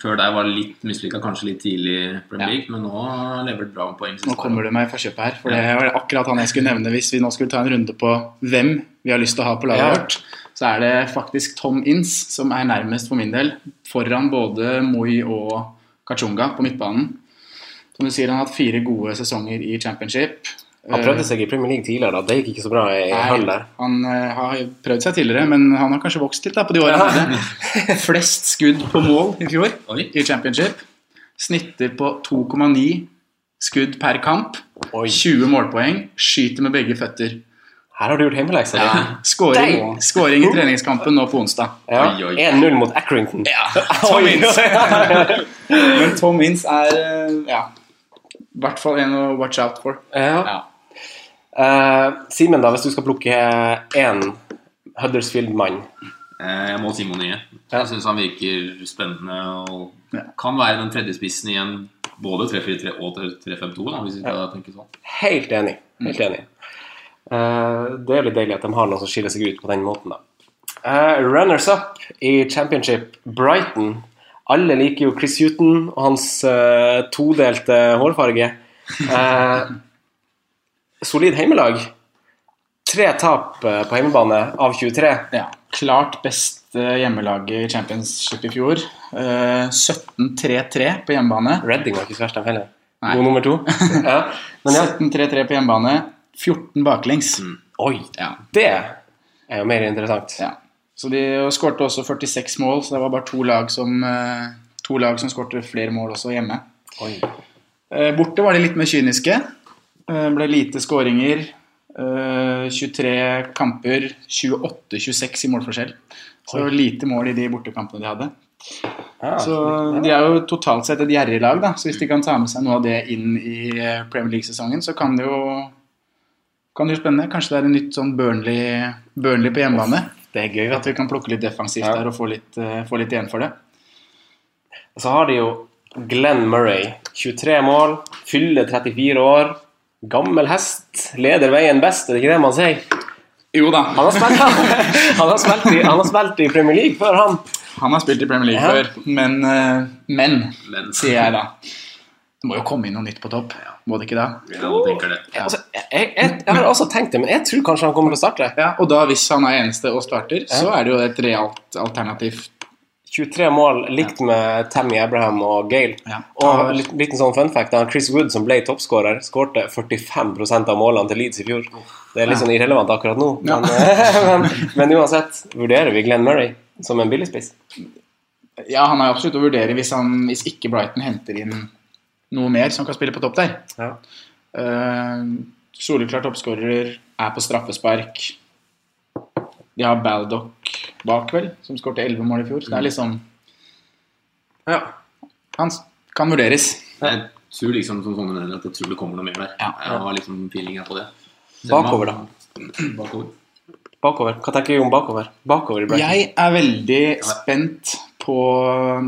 [SPEAKER 1] Før der var det litt mislykka, kanskje litt tidlig i Premier
[SPEAKER 3] Ja.
[SPEAKER 1] League, men nå har han levert bra med poeng. siste
[SPEAKER 3] Nå
[SPEAKER 1] år.
[SPEAKER 3] kommer du meg i forkjøpet her, for det var akkurat han jeg skulle nevne hvis vi nå skulle ta en runde på hvem vi har lyst til å ha på laget
[SPEAKER 2] Ja.
[SPEAKER 3] vårt. Så er det faktisk Tom Inns som er nærmest for min del, foran både Moi og Kachunga på midtbanen. Som du sier, han har hatt fire gode sesonger i championship.
[SPEAKER 2] Han prøvde seg i Premier League tidligere, da. det gikk ikke så bra i
[SPEAKER 3] Nei,
[SPEAKER 2] hull der.
[SPEAKER 3] Han eh, har prøvd seg tidligere, men han har kanskje vokst litt da, på de årene. her. Flest skudd på mål i fjor
[SPEAKER 1] Oi.
[SPEAKER 3] i championship. Snitter på 2,9 skudd per kamp.
[SPEAKER 2] Oi.
[SPEAKER 3] 20 målpoeng. Skyter med begge føtter.
[SPEAKER 2] Her har du gjort hjemmeleksa di.
[SPEAKER 3] Skåring,
[SPEAKER 2] Dang!
[SPEAKER 3] skåring i treningskampen nå på onsdag.
[SPEAKER 2] Ja.
[SPEAKER 1] Oi, oi.
[SPEAKER 2] 1-0 mot Accrington.
[SPEAKER 3] Tom
[SPEAKER 2] Oi.
[SPEAKER 3] Ince. Men Tom Ince er eh, ja, i hvert fall en å watch out for.
[SPEAKER 2] Ja.
[SPEAKER 3] Ja.
[SPEAKER 2] Eh, Simen, da, hvis du skal plukke én Huddersfield-mann
[SPEAKER 1] Eh, Jeg må si Monier. Jeg syns han virker spennende og
[SPEAKER 3] Ja.
[SPEAKER 1] kan være den tredje spissen i en både 3-4-3 og 3-5-2, da, hvis vi skal tenke sånn.
[SPEAKER 2] Helt enig.
[SPEAKER 3] Mm.
[SPEAKER 2] Helt enig. Eh, det er jo litt deilig at de har noen som skiller seg ut på den måten, da. Eh, runners up i championship, Brighton. Alle liker jo Chris Huton og hans eh, todelte hårfarge. Eh, solid heimelag. Tre tap eh, på hjemmebane av 23.
[SPEAKER 3] Ja, klart best eh, hjemmelaget i Championship i fjor. Eh, 17-3-3 på hjemmebane.
[SPEAKER 2] Redding var ikke så verst, dem heller.
[SPEAKER 3] Nei.
[SPEAKER 2] God nummer to. ja. Men ja, Mm.
[SPEAKER 3] 17-3-3 på hjemmebane, 14 baklengs.
[SPEAKER 2] oi,
[SPEAKER 3] Ja,
[SPEAKER 2] det er jo mer interessant.
[SPEAKER 3] ja. Så de og skårte også 46 mål, så det var bare to lag som, eh, to lag som skårte flere mål også hjemme.
[SPEAKER 2] Oi.
[SPEAKER 3] Eh, Borte var de litt mer kyniske. Eh, Ble lite skåringer. Eh, 23 kamper, 28-26 i målforskjell. Så det var lite mål i de bortekampene de hadde.
[SPEAKER 2] Ja,
[SPEAKER 3] Så De er jo totalt sett et gjerrig lag, da. så hvis de kan ta med seg noe av det inn i eh, Premier League-sesongen, så kan det jo kan det jo spennende. Kanskje det er en nytt sånn Burnley, Burnley på hjemmebane.
[SPEAKER 2] det er gøy, vet du.
[SPEAKER 3] At vi kan plukke litt defensivt
[SPEAKER 2] Ja.
[SPEAKER 3] der og få litt, eh, få litt igjen for det.
[SPEAKER 2] Og så har de jo Glenn Murray. 23 mål, fyller 34 år. Gammel hest, leder veien best, er det ikke det man sier?
[SPEAKER 3] Jo da,
[SPEAKER 2] Han har spilt, han har spilt, i, han har spilt i Premier League før, han.
[SPEAKER 3] han har spilt i Premier League
[SPEAKER 2] Ja.
[SPEAKER 3] før, men, eh, men
[SPEAKER 1] Men
[SPEAKER 3] sier jeg da. Det må jo komme inn noe nytt på topp, må det ikke da?
[SPEAKER 1] Ja, alle tenker det.
[SPEAKER 2] Altså, jeg, jeg, jeg har også tenkt det, men jeg tror kanskje han kommer til å starte.
[SPEAKER 3] Ja, og da hvis han er eneste og starter, så er det jo et realt alternativ.
[SPEAKER 2] 23 mål likt med Tammy Abraham og Gale.
[SPEAKER 3] Ja.
[SPEAKER 2] Og en liten liten sånn fun fact, han Chris Wood, som ble toppskårer, skårte 45 av målene til Leeds i fjor. Det er litt sånn irrelevant akkurat nå,
[SPEAKER 3] Ja.
[SPEAKER 2] men, eh, men, men uansett vurderer vi Glenn Murray som en billigspiss.
[SPEAKER 3] Ja, han er jo absolutt å vurdere hvis, han, hvis ikke Brighton henter inn noe mer som kan spille på topp der.
[SPEAKER 2] Ja.
[SPEAKER 3] Uh, soleklart oppskårer, er på straffespark. De har Baldock bak, vel, som skårte 11 mål i fjor. Så det er liksom
[SPEAKER 2] Mm. Ja.
[SPEAKER 3] Han s- kan vurderes.
[SPEAKER 1] Jeg tror liksom som sånne mener at jeg tror det kommer noe mer der.
[SPEAKER 3] Ja.
[SPEAKER 1] Jeg har liksom feelinga på det.
[SPEAKER 2] Bakover, da.
[SPEAKER 1] Bakover.
[SPEAKER 2] Bakover. Hva tenker du om bakover? Bakover i Brighton.
[SPEAKER 3] Jeg er veldig spent på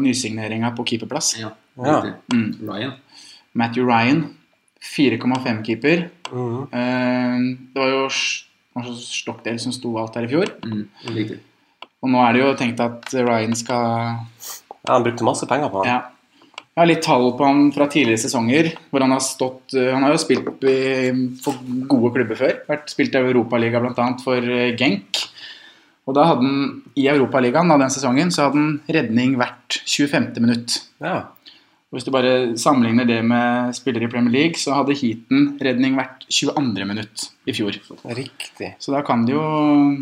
[SPEAKER 3] nysigneringa på keeperplass.
[SPEAKER 1] Ja.
[SPEAKER 2] Ja.
[SPEAKER 1] riktig. Mm, Ryan.
[SPEAKER 3] Matthew Ryan, 4,5-keeper.
[SPEAKER 2] Mhm.
[SPEAKER 3] Eh, det var jo Sch- kanskje Stockdale som sto alt her i fjor.
[SPEAKER 1] Mm, riktig.
[SPEAKER 3] Og nå er det jo tenkt at Ryan skal
[SPEAKER 2] Ja, han brukte masse penger på han.
[SPEAKER 3] Ja. Jeg har litt tall på han fra tidligere sesonger. hvor Han har stått, eh, han har jo spilt i, for gode klubber før. Vært spilt i Europaliga bl.a. for eh, Genk. Og da hadde han, I Europaligaen av den sesongen så hadde han redning hvert 25. minutt.
[SPEAKER 2] Ja.
[SPEAKER 3] Og Hvis du bare sammenligner det med spillere i Premier League, så hadde Heaton redning hvert 22. minutt i fjor.
[SPEAKER 2] Riktig.
[SPEAKER 3] Så da kan det jo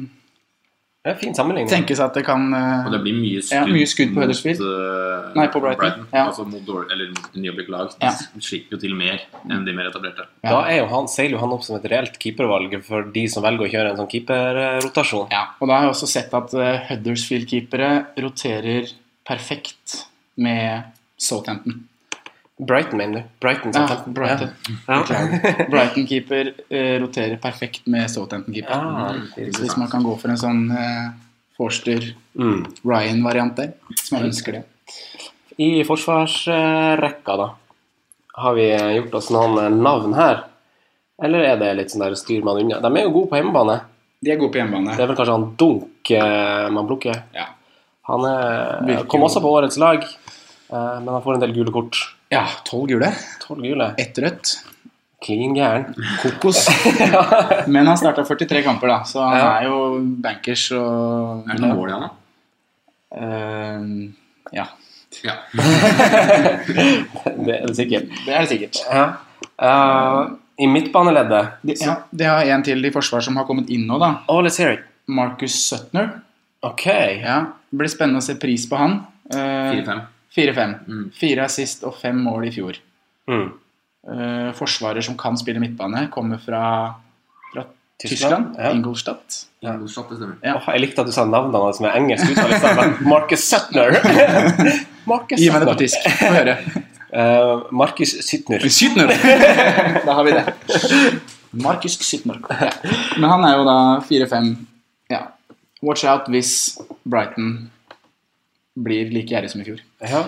[SPEAKER 2] Det er en fin sammenligning.
[SPEAKER 3] tenkes at det kan eh,
[SPEAKER 1] Og det blir mye skudd,
[SPEAKER 3] Ja, mye skudd på
[SPEAKER 1] mot,
[SPEAKER 3] Huddersfield.
[SPEAKER 1] eh,
[SPEAKER 3] Nei, på Brighton. Ja.
[SPEAKER 1] Altså mot dårlig, eller mot nyoppbygd lag.
[SPEAKER 3] Ja.
[SPEAKER 1] De slipper jo til mer enn de mer etablerte.
[SPEAKER 3] Ja.
[SPEAKER 2] Da er jo han, seiler jo han opp som et reelt keepervalg for de som velger å kjøre en sånn keeperrotasjon.
[SPEAKER 3] Ja, og da har jeg også sett at eh, Huddersfield-keepere roterer perfekt med Southampton.
[SPEAKER 2] Brighton, mener du? Brighton,
[SPEAKER 3] Ja,
[SPEAKER 2] sant?
[SPEAKER 3] Brighton.
[SPEAKER 2] Ja.
[SPEAKER 3] Brighton-keeper eh, roterer perfekt med Southampton-keeper.
[SPEAKER 2] Ja,
[SPEAKER 3] Så hvis man kan gå for en sånn eh, Forster-Ryan-variant
[SPEAKER 2] mm.
[SPEAKER 3] der, hvis man ønsker det.
[SPEAKER 2] I forsvarsrekka, da, har vi gjort oss noen eh, navn her? Eller er det litt sånn der styr man unna? De er jo gode på hjemmebane.
[SPEAKER 3] De er gode på hjemmebane.
[SPEAKER 2] Det er vel kanskje han Dunk eh, man plukker.
[SPEAKER 3] Ja.
[SPEAKER 2] Han er,
[SPEAKER 3] Virker
[SPEAKER 2] kom
[SPEAKER 3] jo-
[SPEAKER 2] også på årets lag, eh, men han får en del gule kort.
[SPEAKER 3] ja, tolv gule,
[SPEAKER 2] Tolv gule.
[SPEAKER 3] ett rødt.
[SPEAKER 2] Klin gæren.
[SPEAKER 3] Kokos. Men han starta 43 kamper, da, så han
[SPEAKER 2] Ja.
[SPEAKER 3] er jo bankers og
[SPEAKER 1] Er det noe mål i han, da?
[SPEAKER 3] Eh, Ja,
[SPEAKER 1] Ja.
[SPEAKER 2] Det er det sikkert.
[SPEAKER 3] det er det sikkert.
[SPEAKER 2] Ja. Eh, I midtbaneleddet
[SPEAKER 3] De, ja, de har en til i forsvar som har kommet inn nå, da.
[SPEAKER 2] Oh, let's hear it.
[SPEAKER 3] Marcus Sutner.
[SPEAKER 2] Ok.
[SPEAKER 3] Ja, det blir spennende å se pris på han. Eh,
[SPEAKER 1] 4-5.
[SPEAKER 3] 4-5.
[SPEAKER 1] Mm.
[SPEAKER 3] Fire assist og fem mål i fjor.
[SPEAKER 2] Mm.
[SPEAKER 3] Eh, forsvarer som kan spille midtbane, kommer fra, fra Tyskland.
[SPEAKER 2] Tyskland, ja.
[SPEAKER 3] Ingolstadt.
[SPEAKER 1] Ja. Ingolstadt, det stemmer.
[SPEAKER 2] Åh, jeg likte at du sa navnet hans med engelsk uttale. i stedet for Marcus Sutner. Marcus
[SPEAKER 3] Gi meg det på
[SPEAKER 2] Sutner.
[SPEAKER 3] tysk. Få høre.
[SPEAKER 2] Eh, Marcus Sutner.
[SPEAKER 3] Sutner! da har vi det. Markus Sutner. Ja. Men han er jo da 4-5. Ja. Watch out hvis Brighton blir like gjerrig som i fjor.
[SPEAKER 2] Ja.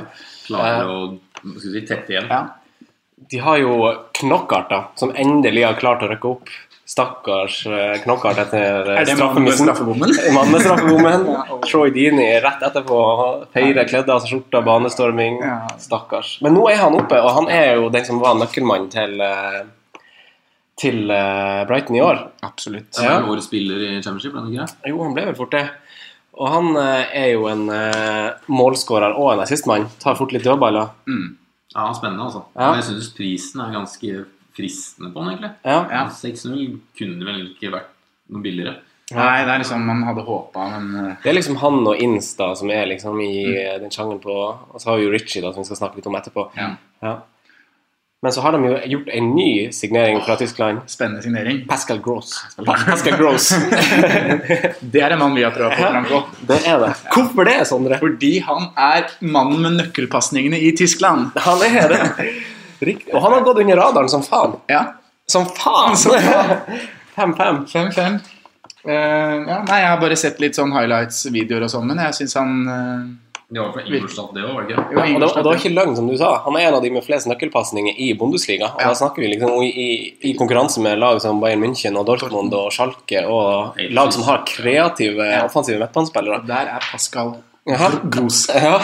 [SPEAKER 1] Klarer å hva skal vi si, tette igjen.
[SPEAKER 3] Ja.
[SPEAKER 2] De har jo Knockart, da, som endelig har klart å rykke opp. Stakkars eh, Knockart etter eh,
[SPEAKER 3] Er det mannen med
[SPEAKER 2] straffemissen.
[SPEAKER 3] straffebommen?
[SPEAKER 2] Mannestraffebommen.
[SPEAKER 3] Ja, og-
[SPEAKER 2] Troy Deeney rett etterpå. Feirer kledd av seg skjorta, banestorming.
[SPEAKER 3] Ja.
[SPEAKER 2] Stakkars. Men nå er han oppe, og han er jo den som var nøkkelmann til eh, til eh, Brighton i år.
[SPEAKER 3] Absolutt.
[SPEAKER 1] Så er han årets spiller i championship, er han ikke det?
[SPEAKER 2] Jo, han ble vel fort det. Og han eh, er jo en eh, målskårer og en assistmann. Tar fort litt dødballer.
[SPEAKER 3] Mm.
[SPEAKER 1] Ja, han er spennende, altså.
[SPEAKER 2] Ja.
[SPEAKER 1] Men jeg syns prisen er ganske fristende på han, egentlig.
[SPEAKER 2] Ja.
[SPEAKER 3] Ja.
[SPEAKER 1] 6-0 kunne vel ikke vært noe billigere.
[SPEAKER 3] Nei, det er liksom man hadde håpa, men eh,
[SPEAKER 2] Det er liksom han og Insta som er liksom i eh, den sjangeren på Og så har vi jo Richie, da, som vi skal snakke litt om etterpå.
[SPEAKER 3] ja.
[SPEAKER 2] Ja. Men så har de jo gjort en ny signering fra Tyskland.
[SPEAKER 3] spennende signering.
[SPEAKER 2] Pascal Gross. Pascal Gross.
[SPEAKER 3] Det er en mann vi har prøvd å få fram på.
[SPEAKER 2] Det er det. Hvorfor det, Sondre?
[SPEAKER 3] Fordi han er mannen med nøkkelpasningene i Tyskland.
[SPEAKER 2] Han er det. Riktig. Og han har gått under radaren som faen.
[SPEAKER 3] Ja.
[SPEAKER 2] Som faen!
[SPEAKER 3] Som faen.
[SPEAKER 2] 5-5.
[SPEAKER 3] 5-5. Eh, ja, nei, jeg har bare sett litt sånn highlights-videoer og sånn, men jeg syns han eh,
[SPEAKER 1] Det var fra Ingolstadt, det òg, var det ikke?
[SPEAKER 3] jo,
[SPEAKER 2] Ja, og, det, og det var
[SPEAKER 3] Ingolstadt-
[SPEAKER 2] ikke løgn, som du sa. Han er en av de med flest nøkkelpasninger i Bundesliga. Og
[SPEAKER 3] Ja.
[SPEAKER 2] da snakker vi liksom om i, i, i konkurranse med lag som Bayern München og Dortmund og Schalke, og
[SPEAKER 1] Helt
[SPEAKER 2] lag som har kreative, offensive midtbanespillere.
[SPEAKER 3] Der er Pascal
[SPEAKER 2] Jaha.
[SPEAKER 3] Gros.
[SPEAKER 2] Ja.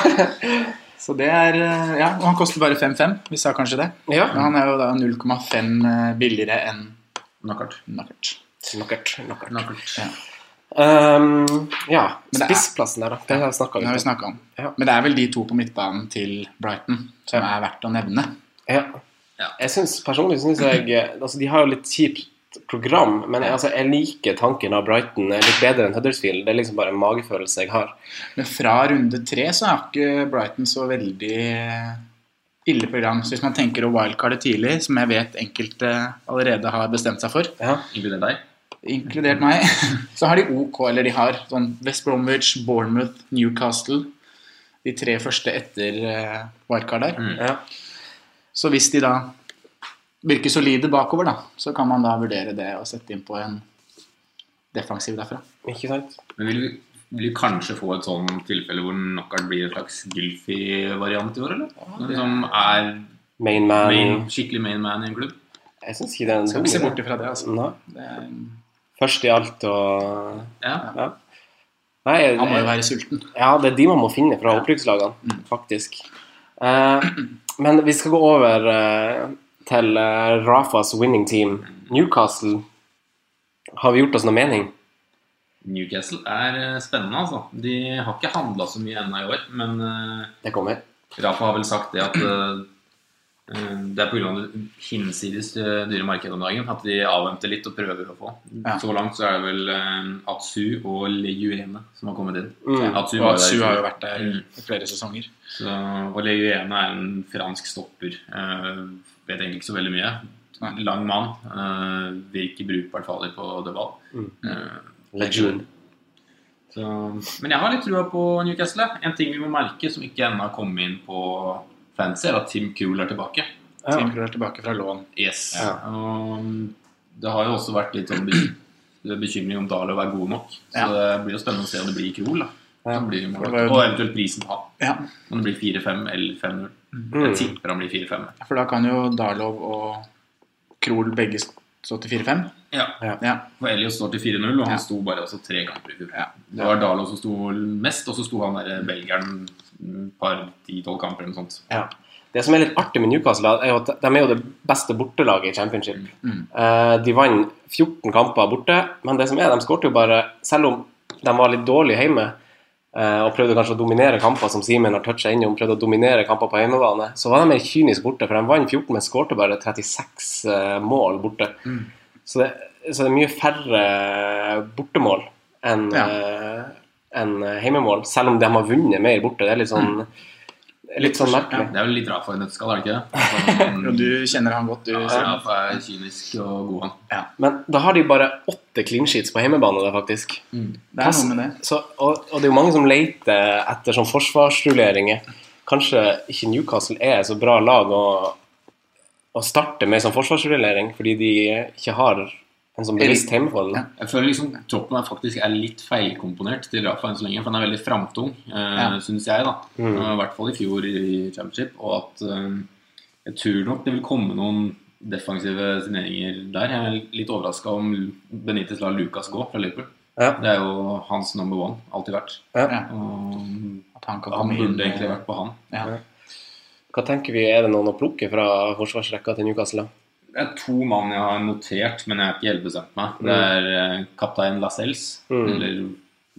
[SPEAKER 3] Så det er eh, Ja, og han koster bare 5-5. Vi sa kanskje det.
[SPEAKER 2] ja.
[SPEAKER 3] Men han er jo da 0,5 eh, billigere enn
[SPEAKER 1] Knockout.
[SPEAKER 3] Nackert.
[SPEAKER 2] Knockert, knockert.
[SPEAKER 1] Knockout.
[SPEAKER 2] Um, ja.
[SPEAKER 3] Men det er-
[SPEAKER 2] Spissplassen der, da. Det har jeg snakket
[SPEAKER 3] Det har vi
[SPEAKER 2] litt om.
[SPEAKER 3] snakket om.
[SPEAKER 2] Ja.
[SPEAKER 3] Men det er vel de to på midtbanen til Brighton som er verdt å nevne.
[SPEAKER 2] Ja.
[SPEAKER 1] Ja.
[SPEAKER 2] Jeg synes, personlig synes jeg eh, altså, De har jo litt kjipt program, men jeg, altså, jeg liker tanken av Brighton eh, litt bedre enn Huddersfield. Det er liksom bare en magefølelse jeg har.
[SPEAKER 3] Men fra runde tre så er ikke Brighton så veldig eh, ille program. Så hvis man tenker å wildcarde tidlig, som jeg vet enkelte allerede har bestemt seg for,
[SPEAKER 2] Ja.
[SPEAKER 1] Inkludert deg.
[SPEAKER 3] inkludert meg, så har de OK, eller de har sånn West Bromwich, Bournemouth, Newcastle. De tre første etter eh, wildcard der.
[SPEAKER 2] Ja.
[SPEAKER 3] Så hvis de da virker solide bakover, da, så kan man da vurdere det og sette inn på en defensiv derfra.
[SPEAKER 2] Ikke sant?
[SPEAKER 1] Men vil vi, vil vi kanskje få et sånn tilfelle hvor knockout blir en slags Gylfi-variant i år, eller? Noen som er
[SPEAKER 2] Main man
[SPEAKER 1] main, skikkelig main man i en klubb?
[SPEAKER 2] Jeg syns ikke det er en
[SPEAKER 3] Skal
[SPEAKER 2] dum
[SPEAKER 3] ikke se
[SPEAKER 2] idé.
[SPEAKER 3] bort ifra det, altså.
[SPEAKER 2] Nei.
[SPEAKER 3] Det er,
[SPEAKER 2] Først i alt og
[SPEAKER 1] Ja.
[SPEAKER 2] Ja. Nei, jeg,
[SPEAKER 3] han må jo være Mm. sulten.
[SPEAKER 2] ja, det er de man må finne fra opprykkslagene, faktisk. Eh, men vi skal gå over eh, til eh, Rafas winning team. Newcastle. Har vi gjort oss noe mening?
[SPEAKER 1] Newcastle er eh, spennende, altså. De har ikke handla så mye ennå i år, men eh,
[SPEAKER 2] Det kommer.
[SPEAKER 1] Rafa har vel sagt det at eh, eh, det er pga. det hinsides eh, dyre markedet om dagen at de avventer litt og prøver å få.
[SPEAKER 3] Ja.
[SPEAKER 1] Så langt så er det vel eh, Atsu og Leguene som har kommet inn.
[SPEAKER 2] Mm.
[SPEAKER 1] Atsu
[SPEAKER 3] Og
[SPEAKER 1] var
[SPEAKER 3] at Su
[SPEAKER 1] der i fjor.
[SPEAKER 3] har jo vært der
[SPEAKER 1] Mm.
[SPEAKER 3] i flere sesonger.
[SPEAKER 1] Så, og Leguene er en fransk stopper. Eh, vet egentlig ikke så veldig mye.
[SPEAKER 3] Nei.
[SPEAKER 1] Lang mann. Eh, virker brukbart farlig på dødball.
[SPEAKER 2] Mm.
[SPEAKER 1] Eh,
[SPEAKER 2] Lejeune.
[SPEAKER 1] så, men jeg har litt trua på Newcastle. En ting vi må merke som ikke ennå har kommet inn på fancy, er at Tim Cool er tilbake.
[SPEAKER 2] Ja.
[SPEAKER 3] Team Krøll er tilbake fra lån.
[SPEAKER 1] Yes.
[SPEAKER 2] Ja.
[SPEAKER 1] Og det har jo også vært litt sånn be- bekymring om Dalo er god nok. Så
[SPEAKER 3] Ja.
[SPEAKER 1] det blir jo spennende å se om det blir Krol. da.
[SPEAKER 2] Ja.
[SPEAKER 1] Som blir målet.
[SPEAKER 3] Det var jo-
[SPEAKER 1] Og eventuelt prisen på han.
[SPEAKER 3] Ja,
[SPEAKER 1] Om det blir 4-5 eller 5-0. Jeg
[SPEAKER 2] Mm.
[SPEAKER 1] tipper han blir 4-5.
[SPEAKER 3] for da kan jo Darlov og Krohl begge stå til 4-5.
[SPEAKER 1] Ja.
[SPEAKER 3] Ja.
[SPEAKER 1] For Elliot står til 4-0, og han
[SPEAKER 3] Ja.
[SPEAKER 1] sto bare også tre kamper i fjor.
[SPEAKER 3] Ja.
[SPEAKER 1] Det var Dalo som sto mest, og så sto han der eh, belgieren et par 10-12 kamper eller noe sånt.
[SPEAKER 2] Ja. Det som er litt artig med Newcastle, er jo at de er jo det beste bortelaget i championship.
[SPEAKER 3] Mm.
[SPEAKER 2] Eh, De vant 14 kamper borte, men det som er, de skårte jo bare Selv om de var litt dårlige hjemme eh, og prøvde kanskje å dominere kamper, som Simen har toucha innom, prøvde å dominere kamper på hjemmebane, så var de mer kynisk borte, for de vant 14, men skårte bare 36 eh, mål borte.
[SPEAKER 3] Mm.
[SPEAKER 2] Så, det, så det er mye færre bortemål enn
[SPEAKER 3] Ja.
[SPEAKER 2] eh, enn, eh, hjemmemål, selv om de har vunnet mer borte. Det er litt
[SPEAKER 3] Mm.
[SPEAKER 2] sånn, litt sånn
[SPEAKER 3] forskjell,
[SPEAKER 2] merkelig.
[SPEAKER 1] Det er vel litt rart for en nøtteskall, er det ikke det?
[SPEAKER 3] Og du kjenner han godt, du.
[SPEAKER 1] Ja,
[SPEAKER 3] Simen.
[SPEAKER 1] Rafa er kynisk og god, han.
[SPEAKER 2] Men da har de bare åtte clean sheets på hjemmebane, der, faktisk.
[SPEAKER 3] Det er noe med det.
[SPEAKER 2] Så, og, og det er jo mange som leter etter sånn forsvarsrulleringer. Kanskje ikke Newcastle er så bra lag å, å starte med sånn forsvarsrullering, fordi de ikke har en sånn bevisst hjemmefall.
[SPEAKER 3] Ja.
[SPEAKER 1] Jeg føler liksom troppen her faktisk er litt feilkomponert til Rafa enn så lenge. For han er veldig framtung, eh,
[SPEAKER 3] Ja.
[SPEAKER 1] syns jeg, da.
[SPEAKER 2] Mm.
[SPEAKER 1] Eh, I hvert fall i fjor i Championship. Og at eh, jeg tror nok det vil komme noen defensive signeringer der. Jeg er litt overraska om Benitez lar Lucas gå fra Liverpool.
[SPEAKER 2] Ja.
[SPEAKER 1] Det er jo hans number one, alltid vært.
[SPEAKER 2] Ja.
[SPEAKER 3] Ja.
[SPEAKER 1] Og
[SPEAKER 3] At han kan
[SPEAKER 1] han
[SPEAKER 3] komme inn
[SPEAKER 1] burde egentlig vært på han.
[SPEAKER 3] ja.
[SPEAKER 2] Hva tenker vi, er det noen å plukke fra forsvarsrekka til Newcastle? da?
[SPEAKER 1] Det er to mann jeg har notert, men jeg har ikke helt bestemt meg. Det er eh, kaptein Lascelles,
[SPEAKER 2] Mm.
[SPEAKER 1] eller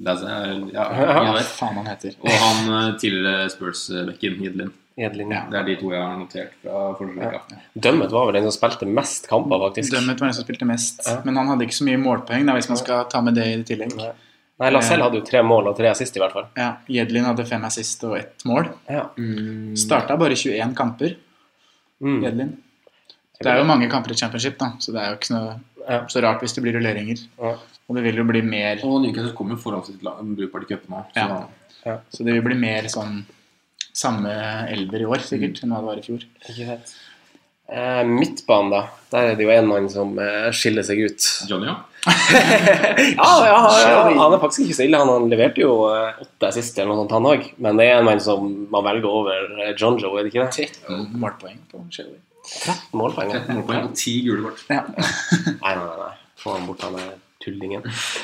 [SPEAKER 1] Lascelles ja,
[SPEAKER 2] Ja.
[SPEAKER 3] Hva
[SPEAKER 1] jeg vet.
[SPEAKER 3] faen han heter.
[SPEAKER 1] Og han eh, tidligere Spurs-bekken Hidlin.
[SPEAKER 2] Edlin.
[SPEAKER 1] Det er de to jeg har notert fra forsvarsrekka.
[SPEAKER 2] Dømmet var vel den som spilte mest kamper, faktisk.
[SPEAKER 3] Dømmet var den som spilte mest,
[SPEAKER 2] Ja.
[SPEAKER 3] men han hadde ikke så mye målpoeng, da, hvis man skal ta med det i tillegg.
[SPEAKER 2] Nei. Nei, Lacelle hadde jo tre mål og tre assist, i hvert fall.
[SPEAKER 3] Ja, Jedlin hadde fem assist og ett mål.
[SPEAKER 2] Ja.
[SPEAKER 3] Starta bare 21 kamper,
[SPEAKER 2] Mm.
[SPEAKER 3] Jedlin. Det er jo mange kamper i championship, da, så det er jo ikke så,
[SPEAKER 2] Ja.
[SPEAKER 3] så rart hvis det blir rulleringer.
[SPEAKER 2] Ja.
[SPEAKER 3] Og det vil jo bli mer
[SPEAKER 1] Og Newcastle kommer forholdsvis la- brukbart i cupen nå. så
[SPEAKER 3] Ja.
[SPEAKER 1] da-
[SPEAKER 3] Så det vil bli mer sånn samme elver i år, sikkert, enn hva det var i fjor.
[SPEAKER 2] Ikke sant. Eh, midtbanen, da. Der er det jo en mann som eh, skiller seg ut.
[SPEAKER 1] Johnny, ja.
[SPEAKER 2] Ja, ja, ja, han er faktisk ikke så ille. Han, han leverte jo eh, åtte sist eller noe sånt, han òg. Men det er en mann som man velger over eh, John Joe, er det ikke det?
[SPEAKER 3] 13 målpoeng på Shelby.
[SPEAKER 2] Målpoeng. ja.
[SPEAKER 1] 13 målpoeng og 10 gule kort.
[SPEAKER 3] Ja.
[SPEAKER 2] Nei, nei, nei. nei. Få han bort, han er tullingen.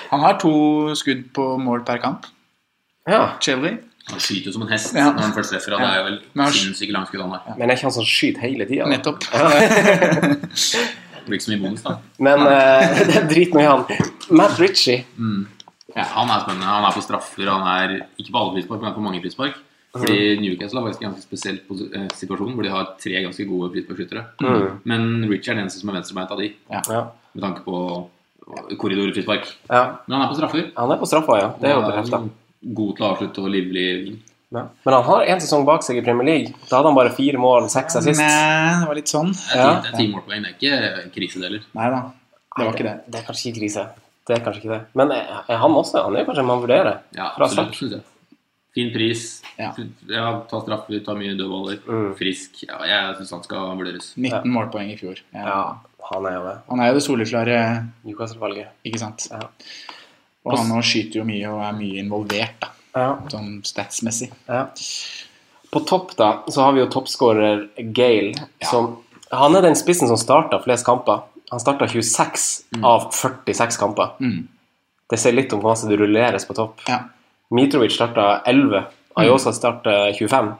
[SPEAKER 3] Han har to skudd på mål per kamp,
[SPEAKER 2] Ja.
[SPEAKER 3] Shelby.
[SPEAKER 1] Han skyter jo som en hest
[SPEAKER 3] Ja.
[SPEAKER 1] når han først treffer. og Det er jo
[SPEAKER 3] Men
[SPEAKER 1] vel
[SPEAKER 3] han-
[SPEAKER 1] sinnssykt langskudd han har.
[SPEAKER 2] Men er ikke han som skyter hele tida?
[SPEAKER 3] Nettopp.
[SPEAKER 1] Det Blir ikke så mye bonus, da.
[SPEAKER 2] Men eh, det er drit nå i han. Matt Ritchie.
[SPEAKER 1] Ja, han er spennende. Han er på straffer, han er ikke på alle frispark, men han er på mange frispark. Fordi Newcastle har faktisk en ganske spesiell posi- eh, situasjon hvor de har tre ganske gode frisparkskyttere.
[SPEAKER 2] Mm.
[SPEAKER 1] Men Richard er den som er venstrebeint av de,
[SPEAKER 2] Ja.
[SPEAKER 1] med tanke på korridorfrispark.
[SPEAKER 2] ja.
[SPEAKER 1] Men han er på straffer.
[SPEAKER 2] Han er på straffa, ja. Det er jo
[SPEAKER 1] Han
[SPEAKER 2] bekrefta.
[SPEAKER 1] God til å avslutte og livlig vinn.
[SPEAKER 2] Ja. Men han har én sesong bak seg i Premier League. Da hadde han bare fire mål, seks assist.
[SPEAKER 3] Nei, det var litt sånn.
[SPEAKER 1] Det er
[SPEAKER 2] Ja.
[SPEAKER 1] ti- det er ti målpoeng, det er ikke krisedeler.
[SPEAKER 3] Nei da, det var ikke det.
[SPEAKER 2] Det er kanskje ikke krise. Det er kanskje ikke det. Men er er han også? Han er kanskje en man vurderer.
[SPEAKER 1] Ja,
[SPEAKER 2] Fra
[SPEAKER 1] absolutt, synes jeg. Fin pris.
[SPEAKER 3] Ja.
[SPEAKER 1] Ja, ta straffer, ta mye dødballer.
[SPEAKER 2] Mm.
[SPEAKER 1] Frisk. Ja, jeg syns han skal vurderes.
[SPEAKER 3] 19
[SPEAKER 2] Ja.
[SPEAKER 3] målpoeng i fjor. Ja.
[SPEAKER 2] Ja, han er jo det.
[SPEAKER 3] Han er jo det soleklare,
[SPEAKER 2] Newcastle-valget.
[SPEAKER 3] ikke sant.
[SPEAKER 2] Ja.
[SPEAKER 3] Og han nå skyter jo mye og er mye involvert, da,
[SPEAKER 2] Ja,
[SPEAKER 3] sånn statsmessig.
[SPEAKER 2] ja. På topp da, så har vi jo toppskårer Gale. Som, han er den spissen som starta flest kamper. Han starta 26 av 46 kamper.
[SPEAKER 3] Mm.
[SPEAKER 2] Det sier litt om hvor masse det rulleres på topp.
[SPEAKER 3] Ja.
[SPEAKER 2] Mitrovic starta 11. Ayosa starta 25.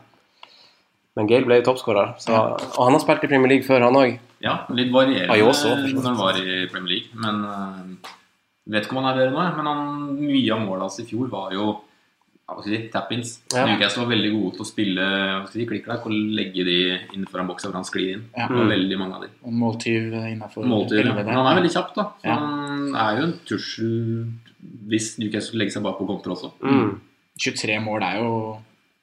[SPEAKER 2] Men Gale ble jo toppskårer. så- Og han har spilt i Premier League før, han òg.
[SPEAKER 1] Ja, litt varierende
[SPEAKER 2] Ja, jeg også, for så vidt.
[SPEAKER 1] når han var i Premier League. Men eh, vet ikke om han er bedre nå. jeg, Men han, mye av måla hans i fjor var jo ja, hva skal jeg si, tap-ins.
[SPEAKER 2] Ja.
[SPEAKER 1] Newcastle var veldig gode til å spille hva skal jeg si, klikk-klakk og legge de innenfor en boks hvor han sklir inn.
[SPEAKER 3] Ja.
[SPEAKER 1] Det
[SPEAKER 2] Mm.
[SPEAKER 1] var veldig mange av de.
[SPEAKER 3] Og måltyv innafor
[SPEAKER 1] Måltyr, ja. Men han er veldig kjapp, da. Så
[SPEAKER 3] Ja.
[SPEAKER 1] Han er jo en trussel hvis Newcastle legger seg bak på kontra også.
[SPEAKER 2] Mm.
[SPEAKER 3] 23 mål er jo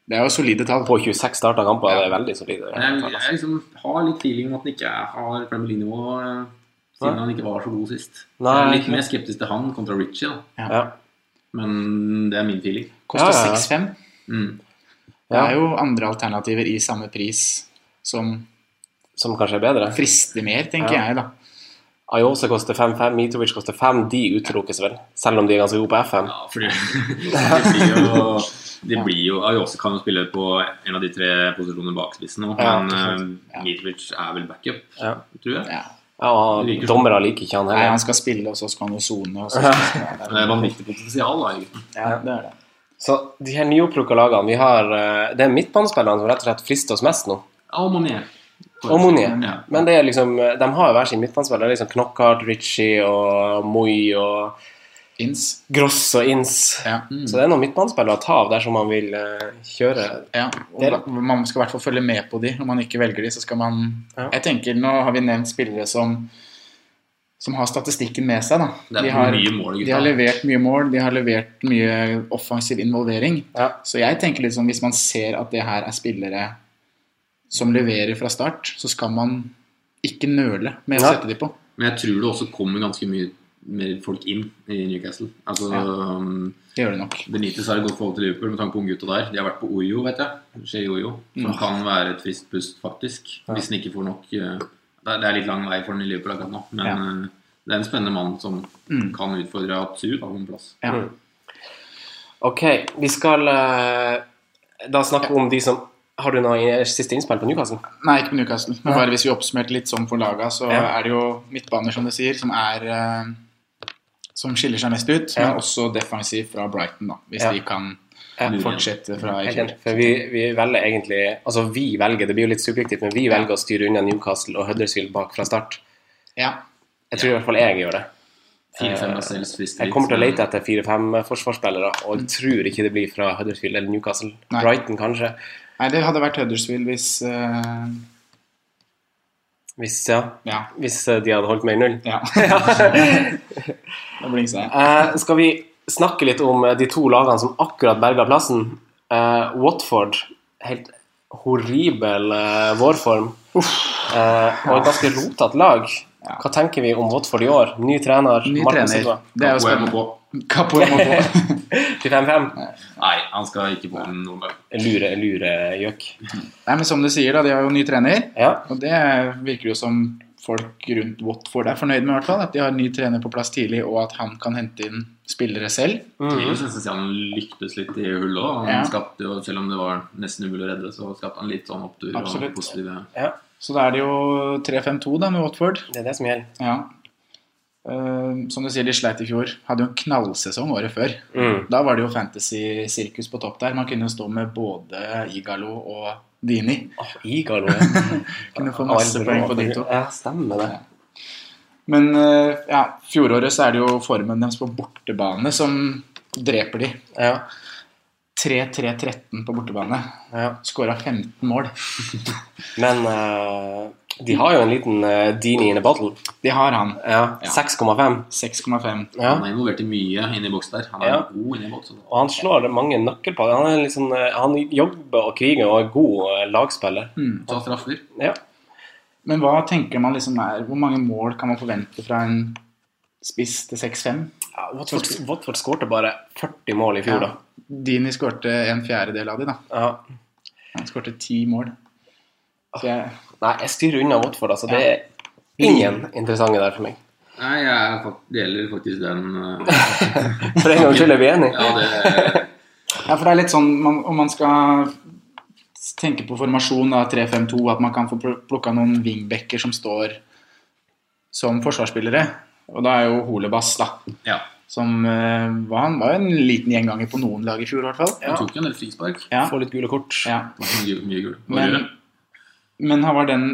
[SPEAKER 3] Det er jo solide tall.
[SPEAKER 2] På 26 starta kamper. Det er veldig solid.
[SPEAKER 1] Men Jeg, jeg liksom har litt feeling om at han ikke har Premier League-nivå eh, siden
[SPEAKER 2] Nei.
[SPEAKER 1] han ikke var så god sist.
[SPEAKER 2] Nei,
[SPEAKER 1] jeg er litt
[SPEAKER 2] ikke
[SPEAKER 1] mer skeptisk til han kontra Ritchie, da.
[SPEAKER 2] Ja.
[SPEAKER 1] Men det er min feeling.
[SPEAKER 3] Kosta
[SPEAKER 2] Ja, ja, ja.
[SPEAKER 3] 6-5.
[SPEAKER 1] Mm.
[SPEAKER 3] Det er
[SPEAKER 2] Ja.
[SPEAKER 3] jo andre alternativer i samme pris som
[SPEAKER 2] Som kanskje er bedre.
[SPEAKER 3] frister mer, tenker
[SPEAKER 2] Ja.
[SPEAKER 3] jeg, da.
[SPEAKER 2] Ayosa koster 5-5, Mitrovic koster 5. De utelukkes vel, selv om de er ganske gode på FM.
[SPEAKER 1] Ja, fordi de blir jo, de blir jo Ayose kan jo spille på en av de tre posisjonene bak spissen nå,
[SPEAKER 2] Ja,
[SPEAKER 1] men
[SPEAKER 2] ikke
[SPEAKER 1] eh, Mitrovic er vel backup,
[SPEAKER 2] Ja.
[SPEAKER 1] tror jeg.
[SPEAKER 3] Ja.
[SPEAKER 2] Ja, og dommere liker ikke han
[SPEAKER 3] Nei,
[SPEAKER 2] heller.
[SPEAKER 3] han skal spille, og så skal han jo sone. og så skal han-
[SPEAKER 1] Men Det er vanvittig potensial, da. egentlig.
[SPEAKER 3] Ja, det er det.
[SPEAKER 2] Så de her nyopplukka lagene vi har eh, Det er midtbanespillerne som rett og slett frister oss mest nå.
[SPEAKER 1] Og Monet.
[SPEAKER 2] Og Monier.
[SPEAKER 1] Ja.
[SPEAKER 2] Men det er liksom, de har jo hver sin midtbanespiller. Det er Liksom Knockhart, Ritchie og Moi og
[SPEAKER 3] Ins.
[SPEAKER 2] Gross og Inns.
[SPEAKER 3] Ja. Mm.
[SPEAKER 2] Så det er noen midtbanespillere å ta av dersom man vil eh, kjøre
[SPEAKER 3] Ja,
[SPEAKER 2] Det er
[SPEAKER 3] og man man skal i hvert fall følge med på de. Om man ikke velger de, så skal man
[SPEAKER 2] Ja.
[SPEAKER 3] Jeg tenker, Nå har vi nevnt spillere som som har statistikken med seg. da.
[SPEAKER 1] Det er
[SPEAKER 3] De har,
[SPEAKER 1] mye mål,
[SPEAKER 3] de har
[SPEAKER 1] gutta.
[SPEAKER 3] levert mye mål, de har levert mye offensiv involvering.
[SPEAKER 2] Ja.
[SPEAKER 3] Så jeg tenker litt sånn, hvis man ser at det her er spillere som leverer fra start, så skal man ikke nøle med å
[SPEAKER 2] Ja.
[SPEAKER 3] sette de på.
[SPEAKER 1] Men jeg tror det også kommer ganske mye mer folk inn i Newcastle. Altså,
[SPEAKER 3] Ja.
[SPEAKER 1] um,
[SPEAKER 3] Det gjør det nok.
[SPEAKER 1] Benitez har et godt forhold til Liverpool med tanke på unggutta der. De har vært på Ojo, vet jeg. Skje Ojo. Som kan være et friskt pust, faktisk. Hvis han ikke får nok eh, Det er- det er litt lang vei for han i Liverpool akkurat nå, men
[SPEAKER 3] Ja.
[SPEAKER 1] eh, det er en spennende mann som kan utfordre absolutt av en plass.
[SPEAKER 3] Ja.
[SPEAKER 2] Mm. Ok, vi skal eh, da snakke om de som Har du noe i- siste innspill på Newcastle?
[SPEAKER 3] Nei, ikke på Newcastle. Men bare hvis vi oppsummerte litt sånn for laga, så
[SPEAKER 2] Ja.
[SPEAKER 3] er det jo midtbaner, som du sier, som er eh, Som skiller seg mest ut,
[SPEAKER 2] Ja.
[SPEAKER 3] men også defensiv fra Brighton, da. Hvis
[SPEAKER 2] Ja.
[SPEAKER 3] de kan
[SPEAKER 2] Ja.
[SPEAKER 3] fortsette fra i
[SPEAKER 2] Helt
[SPEAKER 3] fjor.
[SPEAKER 2] enig. For vi, vi velger egentlig Altså, vi velger, det blir jo litt subjektivt, men vi velger å styre unna Newcastle og Huddersfield bak fra start.
[SPEAKER 3] Ja.
[SPEAKER 2] Jeg tror i hvert fall jeg gjør det.
[SPEAKER 1] 4-5 er selvspisser.
[SPEAKER 2] Jeg kommer til å lete
[SPEAKER 3] sånn-
[SPEAKER 2] etter fire-fem eh, forsvarsspillere, og jeg tror ikke det blir fra Huddersfield eller Newcastle.
[SPEAKER 3] Mm. Nei.
[SPEAKER 2] Brighton, kanskje.
[SPEAKER 3] Nei, det hadde vært Huddersfield hvis eh,
[SPEAKER 2] Hvis, ja.
[SPEAKER 3] Ja.
[SPEAKER 2] Hvis eh, de hadde holdt meg i null.
[SPEAKER 3] ja. det blinker det.
[SPEAKER 2] Eh, skal vi snakke litt om eh, de to lagene som akkurat berga plassen? Eh, Watford, helt horribel eh, vårform. Eh, og et ganske rotete lag.
[SPEAKER 3] Ja.
[SPEAKER 2] Hva tenker vi om Watford i år? Ny trener.
[SPEAKER 3] Ny
[SPEAKER 2] Martin
[SPEAKER 3] trener.
[SPEAKER 2] Silva.
[SPEAKER 3] Det er jo
[SPEAKER 1] Capoe må
[SPEAKER 3] spennende.
[SPEAKER 1] gå.
[SPEAKER 3] Kapoe må gå.
[SPEAKER 2] 25-5.
[SPEAKER 1] Nei, han skal ikke på den noen gang.
[SPEAKER 2] Lure, lure gjøk.
[SPEAKER 3] Nei, men som du sier, da, de har jo ny trener.
[SPEAKER 2] Ja.
[SPEAKER 3] Og det virker jo som folk rundt Watford er fornøyd med, i hvert fall. At de har ny trener på plass tidlig, og at han kan hente inn spillere selv.
[SPEAKER 1] Tidligere synes jeg han lyktes litt i hullet òg. Han
[SPEAKER 3] Ja.
[SPEAKER 1] skapte jo, selv om det var nesten umulig å redde, så skapte han litt sånn opptur
[SPEAKER 3] Absolutt.
[SPEAKER 1] og positive
[SPEAKER 2] ja.
[SPEAKER 3] Så da er det jo 3-5-2 da med Watford.
[SPEAKER 2] Det er det som gjelder.
[SPEAKER 3] Ja. Eh, som du sier, de sleit i fjor. Hadde jo en knallsesong året før.
[SPEAKER 2] Mm.
[SPEAKER 3] Da var det jo fantasy-sirkus på topp der. Man kunne jo stå med både Igalo og Dini.
[SPEAKER 2] Åh, Igalo. ja.
[SPEAKER 3] Kunne få masse
[SPEAKER 2] Alvor,
[SPEAKER 3] poeng på de to.
[SPEAKER 2] Ja, stemmer det.
[SPEAKER 3] Men eh, ja, fjoråret så er det jo formen deres på bortebane som dreper de.
[SPEAKER 2] Ja.
[SPEAKER 3] 3-3-13 på bortebane.
[SPEAKER 2] ja.
[SPEAKER 3] Skåra 15 mål.
[SPEAKER 2] Men eh, de har jo en liten eh, Dini in a bottle.
[SPEAKER 3] De har han.
[SPEAKER 2] Ja,
[SPEAKER 3] Ja.
[SPEAKER 2] 6,5.
[SPEAKER 3] 6,5.
[SPEAKER 2] Ja.
[SPEAKER 1] Han er involvert i mye inne i boks der. Han er
[SPEAKER 2] Ja.
[SPEAKER 1] god inne i boks. altså. også.
[SPEAKER 2] Og han slår mange nøkkelpakker. Han, er liksom, eh, han jobber og kriger og er god eh, lagspiller.
[SPEAKER 3] Mm.
[SPEAKER 1] Ta straffer.
[SPEAKER 2] Ja.
[SPEAKER 3] Men hva tenker man liksom er Hvor mange mål kan man forvente fra en spiss til 6-5?
[SPEAKER 2] Ja, Watford, Watford skårte bare 40 mål i fjor, da.
[SPEAKER 3] Dini skårte en fjerdedel av de, da.
[SPEAKER 2] Ja.
[SPEAKER 3] Han skårte ti mål.
[SPEAKER 2] Ah.
[SPEAKER 3] Så jeg,
[SPEAKER 2] Nei, jeg styrer unna Watford, altså. Det
[SPEAKER 3] Ja.
[SPEAKER 2] er ingen interessante der for meg.
[SPEAKER 1] Nei, jeg er fak- deler faktisk den eh,
[SPEAKER 2] For en gangs skyld er vi enige.
[SPEAKER 1] Ja, det
[SPEAKER 3] ja, for det er litt sånn man, Om man skal tenke på formasjon av 3-5-2, at man kan få pl- plukka noen wingbacker som står som forsvarsspillere. Og da er jo Holebass, da.
[SPEAKER 1] Ja.
[SPEAKER 3] Som eh, var, han var jo en liten gjenganger på noen lag i fjor, i hvert fall.
[SPEAKER 2] Ja.
[SPEAKER 1] Han tok jo en del frispark.
[SPEAKER 3] Ja.
[SPEAKER 2] Får litt gule kort.
[SPEAKER 3] Ja.
[SPEAKER 1] Det var Mye, mye gul. Var
[SPEAKER 3] Men,
[SPEAKER 1] rød.
[SPEAKER 3] men han var den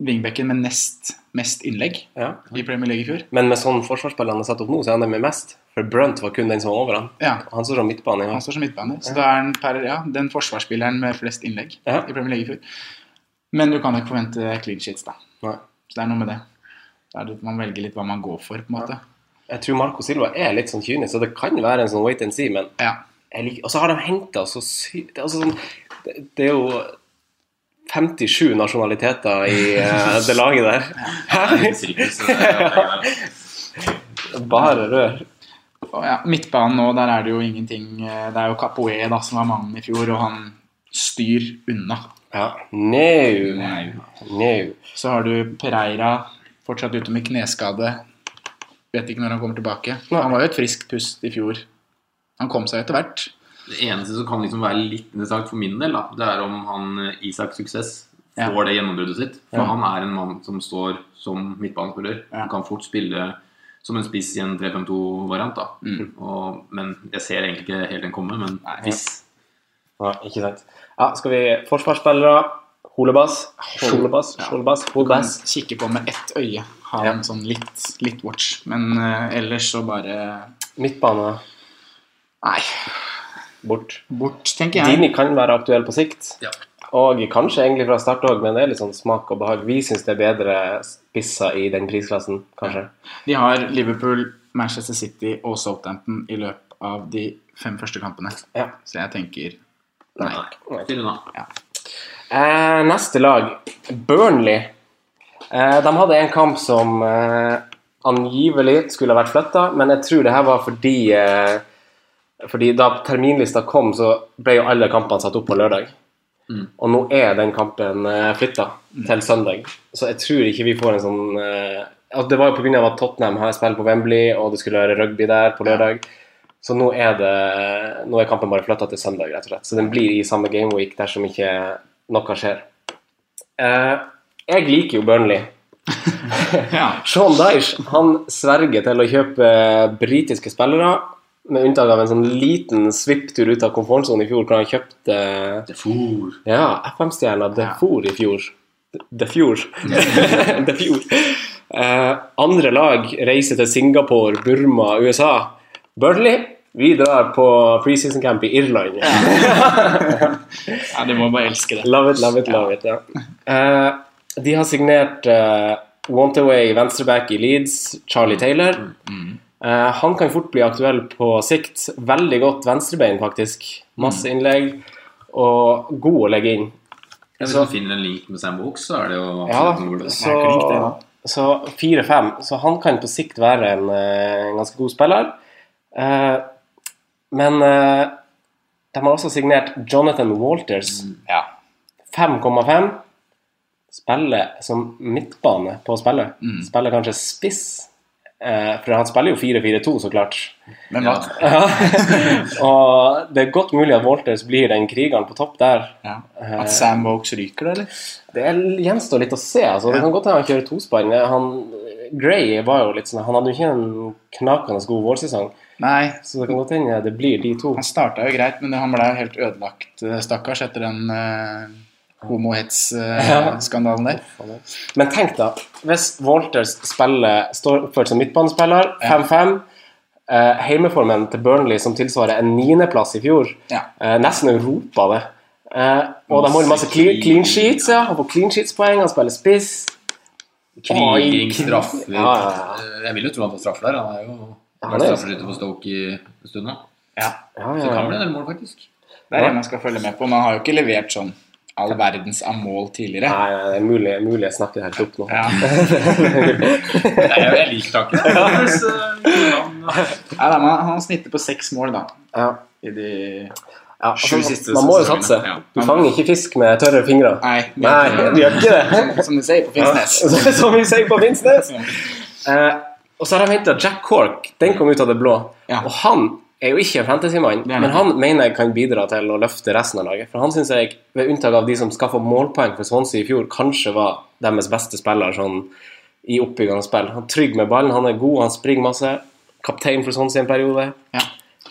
[SPEAKER 3] wingbacken med nest mest innlegg
[SPEAKER 2] Ja.
[SPEAKER 3] i Premier League i fjor.
[SPEAKER 2] Men med sånn forsvarsspill han har satt opp nå, så er han det med mest. For Brunt var kun den som var over han.
[SPEAKER 3] Ja, Altså.
[SPEAKER 2] Han står som midtbane. Ja.
[SPEAKER 3] Han står som midtbane. Så da er han per, ja, den forsvarsspilleren med flest innlegg
[SPEAKER 2] Ja.
[SPEAKER 3] i Premier League i fjor. Men du kan ikke forvente clean sheets, da.
[SPEAKER 2] Nei.
[SPEAKER 3] Så det er noe med det. Da er det at man velger litt hva man går for, på en måte.
[SPEAKER 2] Jeg tror Marco Silva er litt sånn kynisk, så det kan være en sånn wait and see, men
[SPEAKER 3] Ja.
[SPEAKER 2] jeg liker, og så har de henta så sykt det, er altså sånn, det, det er jo 57 nasjonaliteter i eh, det laget der.
[SPEAKER 1] Det er litt sirkus, så det er jo penger der.
[SPEAKER 2] Bare rør.
[SPEAKER 3] Og ja, midtbanen nå, der er det jo ingenting eh, Det er jo Capoe da, som var mannen i fjor, og han styr unna.
[SPEAKER 2] Ja. No. no.
[SPEAKER 3] Så har du Pereira fortsatt ute med kneskade. Vet ikke når han kommer tilbake. Han var jo et friskt pust i fjor. Han kom seg etter hvert.
[SPEAKER 1] Det eneste som kan liksom være litt interessant for min del, da, det er om han eh, Isak Suksess
[SPEAKER 3] Ja.
[SPEAKER 1] får det gjennombruddet sitt. For han er en mann som står som midtbanespiller.
[SPEAKER 3] Ja.
[SPEAKER 1] Han kan fort spille som en spiss i en 3-5-2-variant. da.
[SPEAKER 2] Mm.
[SPEAKER 1] Og- Men jeg ser egentlig ikke helt den komme. Men hvis
[SPEAKER 2] Ja, ikke sant. Ja, skal vi Forsvarsspillere. Holebass. Holebass. Holebass. Holebass.
[SPEAKER 3] kikke på med ett øye. Ha en sånn litt, litt watch. Men eh, ellers så bare
[SPEAKER 2] Midtbane
[SPEAKER 3] Nei,
[SPEAKER 2] bort.
[SPEAKER 3] bort, tenker jeg.
[SPEAKER 2] Dini kan være aktuell på sikt.
[SPEAKER 1] ja.
[SPEAKER 2] Og kanskje egentlig fra start òg, men det er litt sånn smak og behag. Vi syns det er bedre spisser i den prisklassen, kanskje.
[SPEAKER 3] De har Liverpool, Manchester City og Southampton i løpet av de fem første kampene.
[SPEAKER 2] Ja.
[SPEAKER 3] Så jeg tenker nei.
[SPEAKER 1] Nei. Til unna.
[SPEAKER 2] Eh, neste lag, Burnley. Eh, de hadde en kamp som eh, angivelig skulle ha vært flytta, men jeg tror det her var fordi eh, Fordi da terminlista kom, så ble jo alle kampene satt opp på lørdag.
[SPEAKER 1] Mm.
[SPEAKER 2] Og nå er den kampen eh, flytta til søndag, så jeg tror ikke vi får en sånn eh, at Det var jo pga. at Tottenham har spill på Wembley, og det skulle være rugby der på lørdag. Så nå er, det, nå er kampen bare flytta til søndag, rett og slett. Så den blir i samme gameweek dersom ikke noe skjer. Eh, jeg liker jo Burnley.
[SPEAKER 3] Ja.
[SPEAKER 2] Sean Dyche han sverger til å kjøpe britiske spillere, med unntak av en sånn liten svipptur ut av komfortsonen i fjor, hvor han kjøpte
[SPEAKER 1] Det for.
[SPEAKER 2] ja, FM-stjerna Defour i fjor. Defour. Defour. Eh, andre lag reiser til Singapore, Burma, USA. Burnley, vi drar på preseason camp i Irland.
[SPEAKER 4] Ja, det må bare elske det.
[SPEAKER 2] Love it, love it, love it. Ja. Eh, de har signert eh, Wantaway venstreback i Leeds, Charlie Taylor. Eh, han kan fort bli aktuell på sikt. Veldig godt venstrebein, faktisk. Masse innlegg og god å legge inn.
[SPEAKER 1] Hvis man finner en link med Sam Box, så er det jo
[SPEAKER 2] Ja,
[SPEAKER 1] absolutt noe å løse.
[SPEAKER 2] så, så 4-5. Så han kan på sikt være en, eh, en ganske god spiller. Eh, men eh, de har også signert Jonathan Walters.
[SPEAKER 1] Mm,
[SPEAKER 4] Ja.
[SPEAKER 2] 5,5. Spiller som midtbane på spillet.
[SPEAKER 1] Mm.
[SPEAKER 2] Spiller kanskje spiss. eh, for han spiller jo 4-4-2, så klart.
[SPEAKER 3] Men hva?
[SPEAKER 2] Ja. Og det er godt mulig at Walters blir den krigeren på topp der.
[SPEAKER 3] Ja. At Sam Vokes ryker, da, eller?
[SPEAKER 2] Det er- gjenstår litt å se. altså. Det kan godt hende han kjører tospann. Han, Gray var jo litt sånn, han hadde jo ikke en knakende god vårsesong,
[SPEAKER 3] Nei,
[SPEAKER 2] så det kan godt hende det blir de to.
[SPEAKER 3] han starta jo greit, men han ble jo helt ødelagt, eh, stakkars, etter den uh,
[SPEAKER 2] Ja.
[SPEAKER 3] homohets-skandalen der.
[SPEAKER 2] Men tenk da, hvis Walters spiller, står oppført som midtbanespiller,
[SPEAKER 3] Ja.
[SPEAKER 2] 5-5, eh, heimeformen til Burnley som tilsvarer en niendeplass i fjor,
[SPEAKER 3] Ja.
[SPEAKER 2] eh, nesten Europa det. Eh, og de holder masse clean, clean sheets, ja. Han får clean sheets-poeng, han spiller spiss.
[SPEAKER 1] Kriging,
[SPEAKER 2] Oi, krig-
[SPEAKER 1] straffer
[SPEAKER 2] Ja, ja,
[SPEAKER 1] Jeg vil jo tro han får straffer der. Han er jo
[SPEAKER 2] Han
[SPEAKER 1] vært
[SPEAKER 2] er- altså.
[SPEAKER 1] straffeskytter for Stoke i en stund nå.
[SPEAKER 3] Ja.
[SPEAKER 2] Ja,
[SPEAKER 1] Så det
[SPEAKER 2] ja,
[SPEAKER 1] kan bli
[SPEAKER 2] ja.
[SPEAKER 1] en del mål, faktisk.
[SPEAKER 3] Det er
[SPEAKER 2] Ja.
[SPEAKER 3] det man skal følge med på. Man har jo ikke levert sånn all verdens av mål tidligere.
[SPEAKER 2] Nei, nei, det er mulig, mulig jeg snakker helt opp nå.
[SPEAKER 3] Ja.
[SPEAKER 1] Nei, jeg, jeg liker taket. Hvis, eh,
[SPEAKER 3] Nei, da, man, han snitter på seks mål, da.
[SPEAKER 2] Ja.
[SPEAKER 3] I de
[SPEAKER 2] Ja,
[SPEAKER 3] Sju
[SPEAKER 2] altså,
[SPEAKER 3] siste
[SPEAKER 2] man må jo
[SPEAKER 3] sesongene,
[SPEAKER 2] satse.
[SPEAKER 1] ja.
[SPEAKER 2] Du fanger ikke fisk med tørre fingre.
[SPEAKER 3] Nei, det-
[SPEAKER 2] Nei, du gjør ikke det.
[SPEAKER 3] som du sier på Finnsnes.
[SPEAKER 2] Så- Som vi sier på Finnsnes. Eh, og så har de henta Jack Cork. Den kom ut av det blå.
[SPEAKER 3] Ja.
[SPEAKER 2] Og han er jo ikke en fantasymann,
[SPEAKER 3] er han
[SPEAKER 2] men han mener jeg kan bidra til å løfte resten av laget. For han syns jeg, ved unntak av de som skaffa målpoeng for Swansea i fjor, kanskje var deres beste spiller sånn i oppbyggende spill. Han er trygg med ballen, han er god, han springer masse. Kaptein for Swansea en periode.
[SPEAKER 3] Ja.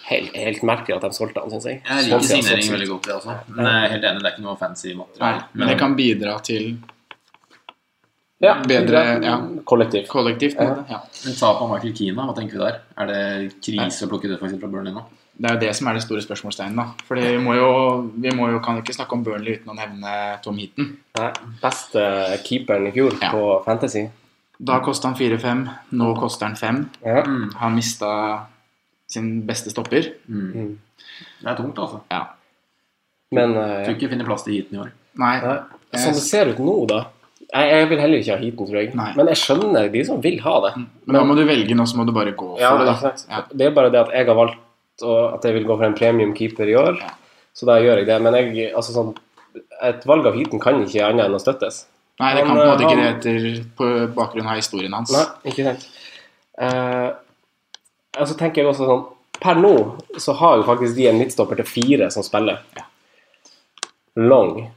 [SPEAKER 2] Helt, helt merkelig at de solgte han, syns jeg. Sånn
[SPEAKER 1] Jeg liker
[SPEAKER 2] Swansea har
[SPEAKER 1] signeringen
[SPEAKER 2] solgt-
[SPEAKER 1] veldig godt, det også. Men jeg er helt enig, det er ikke noe fancy
[SPEAKER 3] Nei,
[SPEAKER 1] materiale.
[SPEAKER 3] men det kan bidra til
[SPEAKER 2] ja,
[SPEAKER 3] bedre- ja.
[SPEAKER 2] kollektiv.
[SPEAKER 3] kollektivt. på en måte. Ja.
[SPEAKER 1] Men tap av Michael Keane, hva tenker vi der? Er det krise å plukke det faktisk fra Burnley nå?
[SPEAKER 3] Det er jo det som er det store spørsmålstegnet. da. For vi, må jo, vi må jo, kan jo ikke snakke om Burnley uten å nevne Tom Heaton.
[SPEAKER 2] Nei, beste keeperen i fjor
[SPEAKER 3] Ja.
[SPEAKER 2] på Fantasy.
[SPEAKER 3] Da kosta han 4-5, nå koster han 5.
[SPEAKER 2] Ja.
[SPEAKER 1] Mm.
[SPEAKER 3] Han mista sin beste stopper.
[SPEAKER 1] Det er tungt, altså.
[SPEAKER 3] Ja.
[SPEAKER 2] Men eh,
[SPEAKER 1] Tror ikke vi finner plass til heaten i år.
[SPEAKER 3] Nei,
[SPEAKER 2] ja. som det ser ut nå, da Jeg, jeg vil heller ikke ha heaten, tror jeg.
[SPEAKER 3] Nei.
[SPEAKER 2] Men jeg skjønner de som vil ha det.
[SPEAKER 3] men da må du velge nå, så må du bare gå for
[SPEAKER 2] Ja,
[SPEAKER 3] det.
[SPEAKER 2] det,
[SPEAKER 3] da.
[SPEAKER 2] er det er bare det at jeg har valgt å- at jeg vil gå for en premium keeper i år, så da gjør jeg det. Men jeg, altså sånn et valg av heaten kan ikke annet enn å støttes.
[SPEAKER 3] Nei, det kan på en
[SPEAKER 2] Han,
[SPEAKER 3] måte ikke det
[SPEAKER 2] han-
[SPEAKER 3] etter på bakgrunn av historien hans.
[SPEAKER 2] Nei, ikke sant. Eh, og så tenker jeg også sånn Per nå så har jo faktisk de en midtstopper til fire som spiller. Long.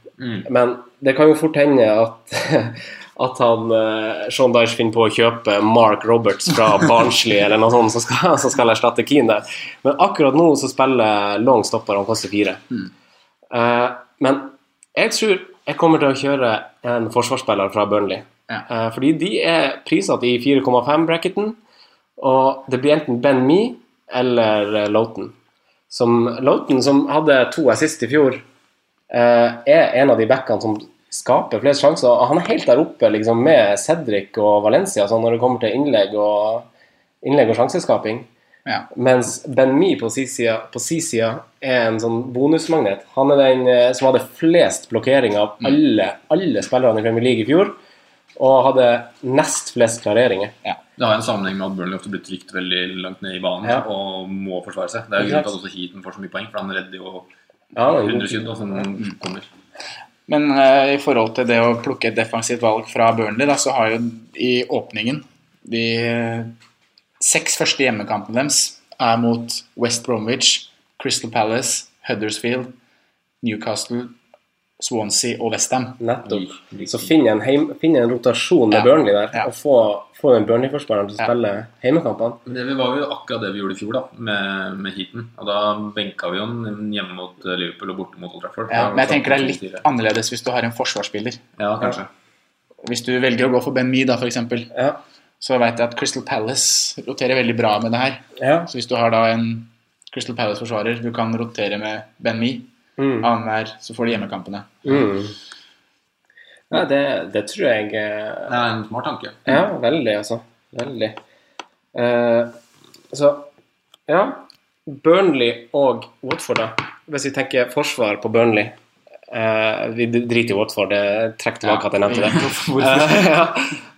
[SPEAKER 2] Men det kan jo fort hende at, at han eh, Sean Dyche finner på å kjøpe Mark Roberts fra Barnsley eller noe sånt, som skal, som skal erstatte Keane der. Men akkurat nå så spiller Long stopper, han koster fire. Eh, men jeg tror jeg kommer til å kjøre en forsvarsspiller fra Burnley.
[SPEAKER 3] Ja.
[SPEAKER 2] Eh, fordi de er prissatt i 4,5-bracketen, og det blir enten Ben Me eller eh, Loughton. Som Loughton, som hadde to assist i fjor, eh, er en av de backene som skaper flest sjanser. Og han er helt der oppe liksom, med Cedric og Valencia sånn, når det kommer til innlegg og, innlegg og sjanseskaping.
[SPEAKER 3] Ja.
[SPEAKER 2] Mens Ben Mi på si sida på si sida er en sånn bonusmagnet. Han er den eh, som hadde flest blokkeringer
[SPEAKER 3] Mm.
[SPEAKER 2] av alle, alle spillerne i Premier League i fjor. Og hadde nest flest klareringer.
[SPEAKER 1] Det har en sammenheng med at Burnley ofte blir trykt veldig langt ned i banen
[SPEAKER 2] Ja.
[SPEAKER 1] og må forsvare seg. Det er jo
[SPEAKER 2] Ikke sant?
[SPEAKER 1] grunnen til at også Heaton får så mye poeng, for han redder jo
[SPEAKER 2] Ja, han er god.
[SPEAKER 1] 100 skudd da, som altså, kommer.
[SPEAKER 3] Men eh, i forhold til det å plukke et defensivt valg fra Burnley, da, så har jo i åpningen de eh, seks første hjemmekampene deres er mot West Bromwich, Crystal Palace, Huddersfield, Newcastle, Swansea og Westham.
[SPEAKER 2] Nettopp. Så finn en, heim, finn en rotasjon med
[SPEAKER 3] Ja.
[SPEAKER 2] Burnley der,
[SPEAKER 3] Ja.
[SPEAKER 2] og få, få den Burnley-forsvareren til å
[SPEAKER 3] Ja.
[SPEAKER 2] spille heimekampene.
[SPEAKER 1] Men Det var jo akkurat det vi gjorde i fjor da, med, med heaten. Og da benka vi jo den hjemme mot eh, Liverpool og borte mot Old Trafford.
[SPEAKER 3] Ja, men jeg tenker det er
[SPEAKER 1] Ja, sånn
[SPEAKER 3] litt annerledes hvis du har en forsvarsspiller.
[SPEAKER 1] kanskje.
[SPEAKER 3] Hvis du velger å gå for Ben Mee, da, f.eks.,
[SPEAKER 2] Ja.
[SPEAKER 3] Så veit jeg at Crystal Palace roterer veldig bra med det her.
[SPEAKER 2] Ja.
[SPEAKER 3] Så hvis du har da en Crystal Palace-forsvarer du kan rotere med Ben Me
[SPEAKER 2] Mm.
[SPEAKER 3] annenhver, så får du hjemmekampene.
[SPEAKER 2] Mm. Nei, det, det tror jeg eh,
[SPEAKER 1] Det er en smart tanke.
[SPEAKER 2] Ja, veldig, altså. Veldig. Eh, så ja. Burnley og Watford, da. Hvis vi tenker forsvar på Burnley eh, Vi driter i Watford, det trekk tilbake at jeg nevnte det.
[SPEAKER 1] Hvorfor?
[SPEAKER 2] Eh, ja.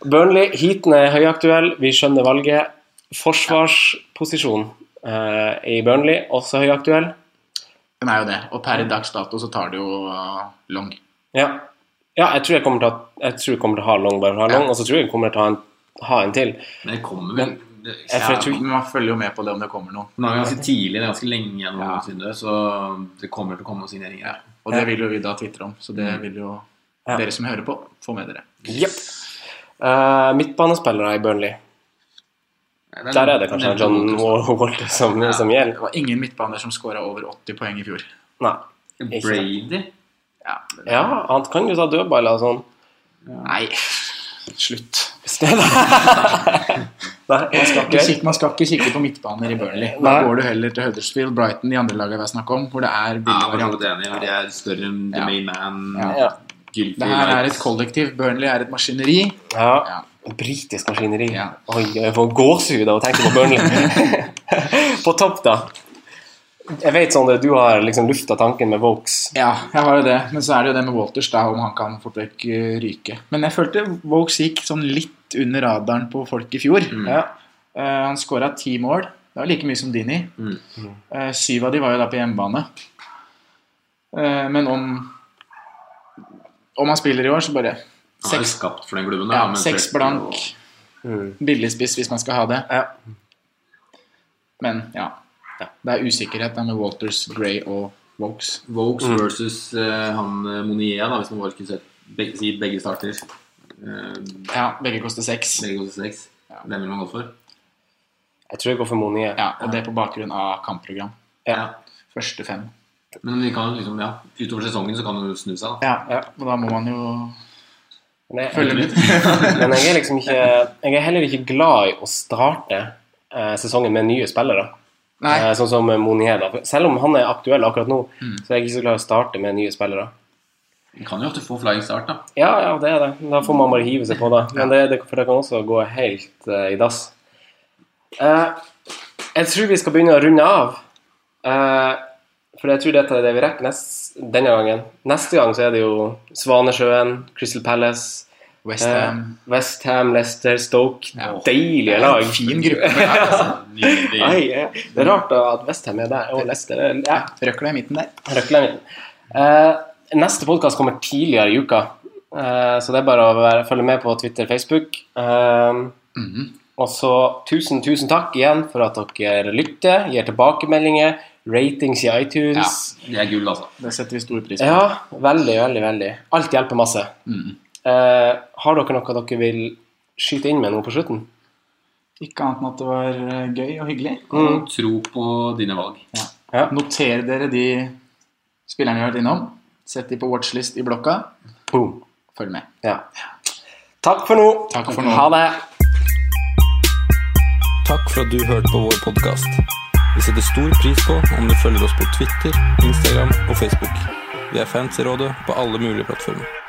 [SPEAKER 2] Burnley, heaten er høyaktuell, vi skjønner valget. Forsvarsposisjon eh, i Burnley, også høyaktuell.
[SPEAKER 3] Den er jo det. Og per dags dato så tar det jo uh, long.
[SPEAKER 2] Ja. ja, jeg tror jeg kommer til å, jeg tror jeg kommer til å ha Long bare for å ha Long, og så tror jeg jeg kommer til å ha en, ha en til.
[SPEAKER 1] Men det kommer vel det,
[SPEAKER 2] Jeg tror-
[SPEAKER 1] ja,
[SPEAKER 2] tror-
[SPEAKER 3] Men man følger jo med på det om det kommer noe.
[SPEAKER 1] Nå er vi ganske tidlig, det er ganske lenge igjen,
[SPEAKER 3] Ja.
[SPEAKER 1] noensinne, så det kommer til å komme noen signeringer.
[SPEAKER 3] Og det vil jo vi da tvitre om, så det vil jo
[SPEAKER 2] Mm. Ja.
[SPEAKER 3] dere som hører på, få med dere.
[SPEAKER 2] Jepp. Eh, midtbanespillere i Burnley. Der er det kanskje John Walter som, som
[SPEAKER 3] Det
[SPEAKER 2] gjelder.
[SPEAKER 3] var ingen midtbaner som scora over 80 poeng i fjor.
[SPEAKER 2] Nei. sånn-
[SPEAKER 1] Brady?
[SPEAKER 3] Ja, men-
[SPEAKER 2] Ja, han kan jo ta dødballer og sånn.
[SPEAKER 3] Nei, slutt.
[SPEAKER 2] Nei,
[SPEAKER 3] Man skal, ikke
[SPEAKER 2] ok.
[SPEAKER 3] kikke, man skal ikke kikke på midtbaner i Burnley. Da
[SPEAKER 2] Nei.
[SPEAKER 3] går du heller til Huddersfield, Brighton, de andre lagene vi har snakket om, hvor det er
[SPEAKER 1] Ja,
[SPEAKER 3] billige
[SPEAKER 1] jeg er
[SPEAKER 3] varianter.
[SPEAKER 1] helt enig. De er større enn The
[SPEAKER 3] Ja.
[SPEAKER 1] Main Man.
[SPEAKER 3] Ja.
[SPEAKER 2] Ja.
[SPEAKER 1] Guilty
[SPEAKER 3] Det her er
[SPEAKER 1] Rights.
[SPEAKER 3] et kollektiv. Burnley er et maskineri.
[SPEAKER 2] ja.
[SPEAKER 3] Ja.
[SPEAKER 2] Britisk maskineri.
[SPEAKER 3] Ja.
[SPEAKER 2] Oi, jeg får gåsehud av å tenke på Burnley. på topp, da. Jeg vet, Sondre, du har liksom lufta tanken med Vokes.
[SPEAKER 3] Ja, jeg har jo det. Men så er det jo det med Walters, da, om han kan fort vekk eh, ryke. Men jeg følte Vokes gikk sånn litt under radaren på folk i fjor.
[SPEAKER 2] Ja.
[SPEAKER 3] Eh, han skåra ti mål. Det var like mye som Dini.
[SPEAKER 1] Mm.
[SPEAKER 3] Eh, syv av de var jo da på hjemmebane. Eh, men om Om han spiller i år, så bare
[SPEAKER 1] Han er
[SPEAKER 3] seks,
[SPEAKER 1] skapt for den klubben. da,
[SPEAKER 3] ja,
[SPEAKER 1] men
[SPEAKER 3] seks
[SPEAKER 1] Trent-
[SPEAKER 3] blank.
[SPEAKER 2] Mm.
[SPEAKER 3] Billigspiss hvis man skal ha det.
[SPEAKER 2] Ja.
[SPEAKER 3] Men ja. Det er usikkerhet da med Walters, Gray og Vokes.
[SPEAKER 1] Vokes
[SPEAKER 2] Mm.
[SPEAKER 1] versus eh, han eh, Monier, da, hvis man bare skulle sett begge, si begge starter. Eh,
[SPEAKER 3] Ja, begge koster seks.
[SPEAKER 1] begge går til seks.
[SPEAKER 3] Ja.
[SPEAKER 1] Hvem vil man gå for?
[SPEAKER 2] Jeg tror jeg går for Monier.
[SPEAKER 3] Ja, og det er på bakgrunn av kampprogram.
[SPEAKER 2] Ja.
[SPEAKER 3] Første fem.
[SPEAKER 1] Men vi kan jo liksom, ja, utover sesongen så kan det jo snu seg, da.
[SPEAKER 3] Ja, og da må man jo
[SPEAKER 2] Men jeg-
[SPEAKER 3] følge med.
[SPEAKER 2] Men jeg er liksom ikke Jeg er heller ikke glad i å starte eh, sesongen med nye spillere.
[SPEAKER 3] Nei, Mm.
[SPEAKER 2] Eh, sånn som Monier, da. Selv om han er aktuell akkurat nå, så er jeg ikke så glad i å starte med nye spillere.
[SPEAKER 1] Vi kan jo ofte få flying start, da.
[SPEAKER 2] Ja, ja, det er det. Da får man bare hive seg på, da. Men det, det, for det kan også gå helt eh, i dass. Eh, jeg tror vi skal begynne å runde av. Eh, for jeg tror dette er det vi rekker nest, denne gangen. Neste gang så er det jo Svanesjøen, Crystal Palace,
[SPEAKER 3] West
[SPEAKER 2] eh,
[SPEAKER 3] Ham.
[SPEAKER 2] Westham, Leicester, Stoke.
[SPEAKER 3] Ja.
[SPEAKER 2] Deilige
[SPEAKER 3] Det er
[SPEAKER 2] lag.
[SPEAKER 3] en fin gruppe. med lag.
[SPEAKER 1] Nydelig.
[SPEAKER 2] Nei, eh, det er rart da at Westham er der, og Leicester er ja,
[SPEAKER 3] Røkla i midten der.
[SPEAKER 2] Røkland. Eh, neste podkast kommer tidligere i uka, eh, så det er bare å være, følge med på Twitter Facebook. Eh,
[SPEAKER 3] Mhm.
[SPEAKER 2] Og så tusen, tusen takk igjen for at dere lytter, gir tilbakemeldinger, ratings i iTunes.
[SPEAKER 1] Det er gull, altså.
[SPEAKER 3] Det setter vi stor pris
[SPEAKER 2] Ja,
[SPEAKER 3] på.
[SPEAKER 2] veldig, veldig, veldig. Alt hjelper masse.
[SPEAKER 3] Mhm.
[SPEAKER 2] Eh, har dere noe dere vil skyte inn med nå på slutten?
[SPEAKER 3] Ikke annet enn at det var eh, gøy og hyggelig.
[SPEAKER 2] Mm.
[SPEAKER 1] Og tro på dine valg.
[SPEAKER 2] Ja.
[SPEAKER 3] Noter dere de spillerne vi har vært innom. Sett de på watchlist i blokka.
[SPEAKER 2] Boom.
[SPEAKER 3] Følg med.
[SPEAKER 2] Ja. Takk for nå.
[SPEAKER 3] Takk for nå.
[SPEAKER 2] Ha det.
[SPEAKER 4] Takk for at du hørte på vår podkast. Vi setter stor pris på om du følger oss på Twitter, Instagram og Facebook. Vi er fans i rådet på alle mulige plattformer.